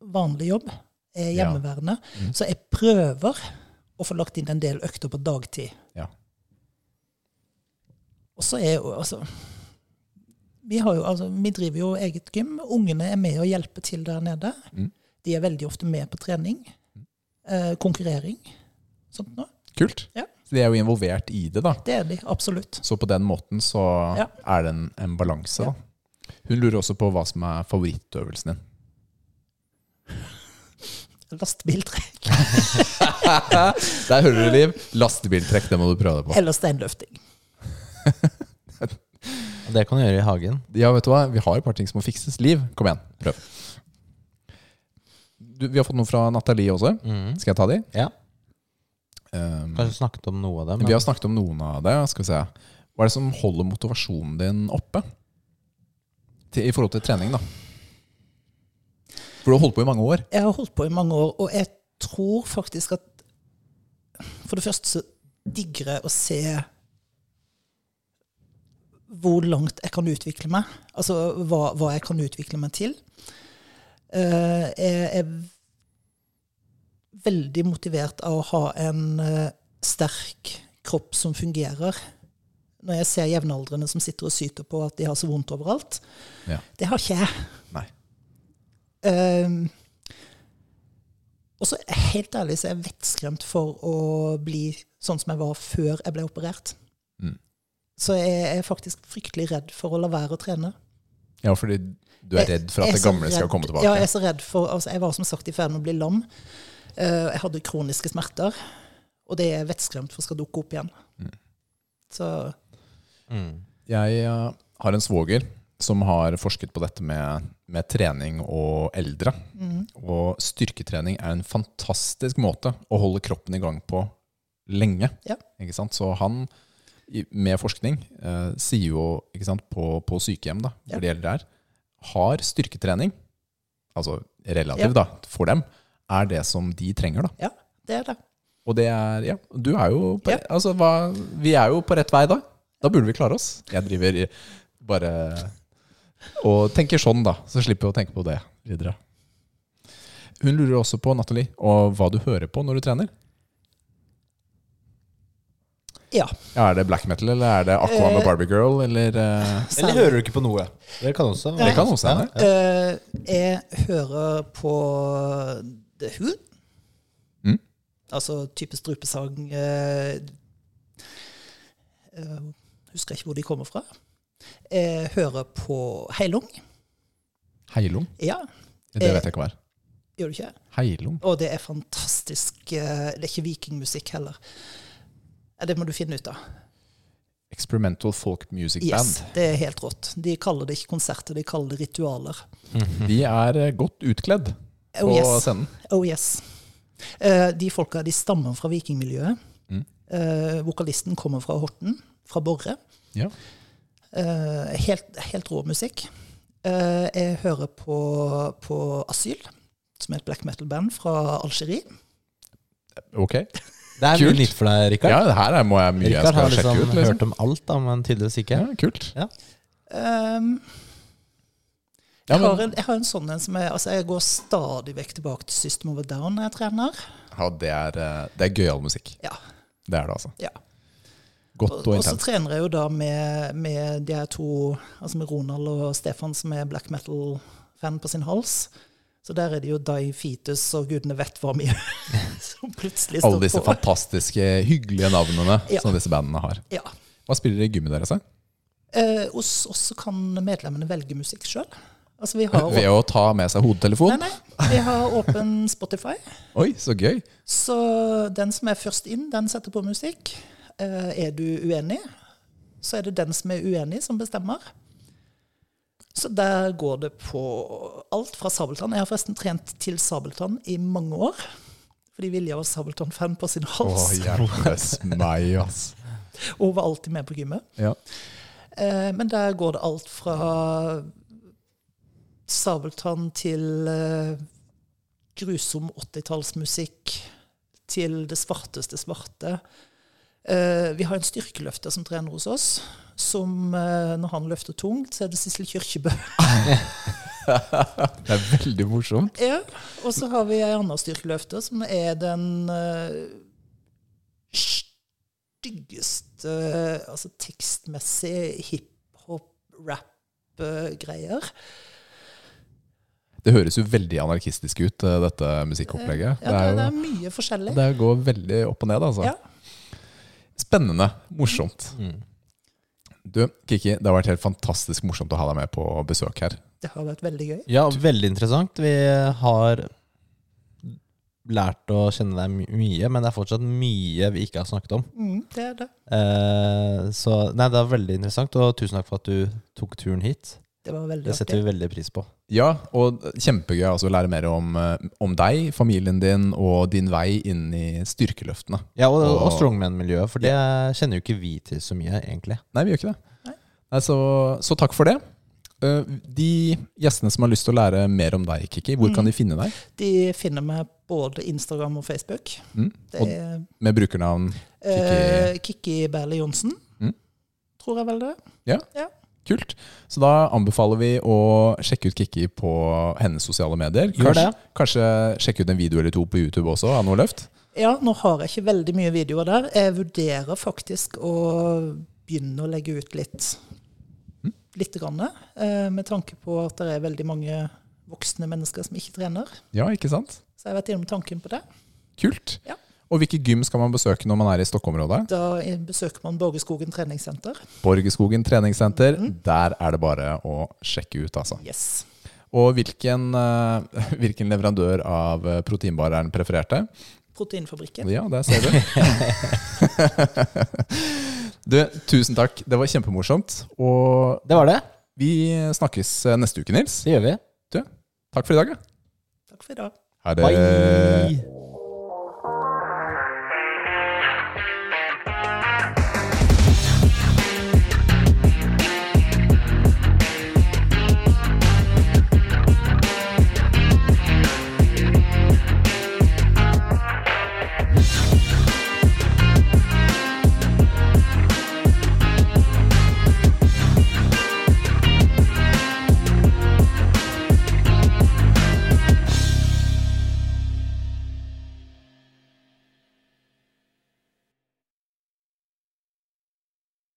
vanlig jobb. Jeg er
Ja.
hjemmeværende.
Mm.
Så jeg prøver å få lagt inn en del økter på dagtid.
Ja.
Og så er jo altså vi, har jo, altså vi driver jo eget gym. Ungene er med og hjelper til der nede.
Mm.
De er veldig ofte med på trening. Eh, konkurrering. Sånt noe.
Kult.
Ja.
Så de er jo involvert i det, da.
Det er de absolutt.
Så på den måten så
Ja.
er det en, en balanse,
Ja.
da. Hun lurer også på hva som er favorittøvelsen din.
Lastebiltrekk
Der hører du, Liv. Lastebiltrekk, det må du prøve deg på.
eller steinløfting.
Det kan du gjøre i hagen.
Ja, vet du hva? Vi har et par ting som må fikses. Liv, kom igjen. Prøv. Du, vi har fått noe fra Nathalie også.
Mm.
Skal jeg ta de?
Ja.
Um,
Kanskje snakket om noe av det. men-
vi har snakket om noen av det. Skal vi se. Hva er det som holder motivasjonen din oppe? Til, I forhold til trening, da. For du har holdt på i mange år.
Jeg har holdt på i mange år, og jeg tror faktisk at For det første så digger jeg å se hvor langt jeg kan utvikle meg. Altså hva, hva jeg kan utvikle meg til. Eh, jeg er veldig motivert av å ha en eh, sterk kropp som fungerer. Når jeg ser jevnaldrende som sitter og syter på at de har så vondt overalt.
Ja.
Det har ikke jeg.
Nei.
Ehm, og så helt ærlig så er jeg vettskremt for å bli sånn som jeg var før jeg ble operert.
Mm.
Så jeg er faktisk fryktelig redd for å la være å trene.
Ja, fordi du er redd for at
Jeg er
det
så
gamle skal
redd-
komme tilbake?
Ja, jeg er så redd for altså, Jeg var som sagt i ferd med å bli lam. Eh, jeg hadde kroniske smerter, og det er vettskremt for skal dukke opp igjen.
Mm.
Så
Mm.
Jeg eh, har en svoger som har forsket på dette med, med trening og eldre.
mm,
Og styrketrening er en fantastisk måte å holde kroppen i gang på lenge.
Ja.
Ikke sant? Så han, i- med forskning, eh, sier jo ikke sant, på, på sykehjem, da,
Ja.
hvor de eldre er, har styrketrening, altså
Ja.
relativt da, for dem, er det som de trenger. da.
ja, det er det.
Og det er Ja, du er jo på,
Ja.
altså, hva, Vi er jo på rett vei da. Da burde vi klare oss. Jeg driver i- bare og tenker sånn, da. Så slipper jeg å tenke på det videre. Hun lurer også på, Nathalie, og hva du hører på når du trener.
Ja.
Ja, er det black metal, eller er det Aqua med
Eh.
Barbie Girl, eller eh,
Eller hører du ikke på noe? Det kan også.
Det kan også hende.
Eh, jeg hører på The Who.
Mm.
Altså type strupesang eh, eh, Husker ikke hvor de kommer fra. Jeg hører på Heilung.
Heilung?
Ja,
Det
Eh.
vet jeg ikke hva er.
gjør du ikke?
Heilung?
Og det er fantastisk eh, Det er ikke vikingmusikk heller. Ja, Det må du finne ut av.
Experimental folk music
Yes,
band.
det er helt rått. De kaller det ikke konserter, de kaller det ritualer.
De er eh, godt utkledd på
Oh yes.
scenen.
Oh yes. Eh, de folka de stammer fra vikingmiljøet.
Mm.
Eh, vokalisten kommer fra Horten, fra Borre.
Ja.
Eh, helt, helt rå musikk. Eh, jeg hører på, på Asyl, som er et black metal-band fra Algerie.
Ok.
Det er
Kult.
mye nytt for deg, Rikard.
Ja, det her er, må jeg mye jeg
Rikard
skal
har
sjekke
liksom,
ut. Liksom.
hørt om alt, da, men tydeligvis ikke.
Ja, kult.
Ehm,
Ja,
jeg, har
men-
en, jeg har en sånn en som er altså Jeg går stadig vekk tilbake til System of a Down når jeg trener.
Ja, det er, eh, det er gøyal musikk.
Ja.
Det er det, altså.
Ja.
Godt
Og,
og
og så
intenst.
trener jeg jo da med, med de her to, altså med Ronald og Stefan, som er black metal-fan på sin hals. Så der er det jo Die Fetus og gudene vet hva mye som plutselig står
Alle disse
på.
fantastiske, hyggelige navnene
Ja.
som disse bandene har.
Ja.
Hva spiller i gymmet deres? da?
Eh, hos oss så kan medlemmene velge musikk sjøl. Altså vi har,
Ved å ta med seg
nei,
hodetelefon?
nei, vi har åpen Spotify.
Oi, så gøy.
Så den som er først inn, den setter på musikk. Eh, Er du uenig, så er det den som er uenig, som bestemmer. Så der går det på alt fra Sabeltann. Jeg har forresten trent til Sabeltann i mange år. Fordi Vilja var Sabeltann-fan på sin
Å,
hals.
hjelpes meg, ass.
Og hun var alltid med på gymmet.
Ja.
Eh, Men der går det alt fra Sabeltann til eh, grusom 80-tallsmusikk til det svarteste svarte. Eh, Vi har en styrkeløfter som trener hos oss, som eh, når han løfter tungt, så er det Sissel Kyrkjebø.
Det er veldig morsomt.
Ja, og så har vi ei anna styrkeløfter, som er den eh, styggeste eh, Altså tekstmessig eh, hiphop-rap-greier.
Det høres jo veldig anarkistisk ut, eh, dette musikkopplegget.
Eh, Ja, det, er det
jo,
er mye forskjellig.
det går veldig opp og ned, altså.
Ja.
Spennende. Morsomt.
Mm.
Du, Kiki, det har vært helt fantastisk morsomt å ha deg med på besøk her.
Det har vært veldig gøy.
Ja, veldig interessant. Vi har lært å kjenne deg my- mye, men det er fortsatt mye vi ikke har snakket om.
Mm, det er det.
Eh, så nei, det er veldig interessant, og tusen takk for at du tok turen hit.
Det var veldig
Det setter
artig.
vi veldig pris på.
Ja, og kjempegøy altså, å lære mer om, eh, om deg, familien din og din vei inn i styrkeløftene.
Ja, og, og
Og-
strongman-miljøet, for det kjenner jo ikke vi til så mye, egentlig.
Nei, vi gjør ikke det.
Nei.
Nei, så, så takk for det. Eh, De gjestene som har lyst til å lære mer om deg, Kiki, hvor
Mm.
kan de finne deg?
De finner meg både Instagram og Facebook.
Mm?
Det
Og
er
med brukernavn.
eh, Kikki Berle Johnsen,
Mm.
tror jeg vel det.
Kult. Så da anbefaler vi å sjekke ut Kiki på hennes sosiale medier.
Gjør det.
kanskje sjekke ut en video eller to på YouTube også av noe løft.
Ja, nå har jeg ikke veldig mye videoer der. Jeg vurderer faktisk å begynne å legge ut litt. Litt grann, eh, med tanke på at det er veldig mange voksne mennesker som ikke trener.
Ja, ikke sant?
Så jeg har vært innom tanken på det.
Kult.
Ja.
Og hvilke gym skal man besøke når man er i Stockholm-området?
Da eh, besøker man Borgeskogen treningssenter.
Borgeskogen treningssenter. Der er det bare å sjekke ut, altså.
Yes.
Og hvilken, eh, hvilken leverandør av eh, proteinbar er den prefererte?
Proteinfabrikken.
Ja, der ser du. du, tusen takk. Det var kjempemorsomt. Og
Det var det.
vi snakkes eh, neste uke, Nils.
Det gjør vi.
Tá
Du, takk for i dag. ja.
Takk for i dag.
Ha det.
Bye!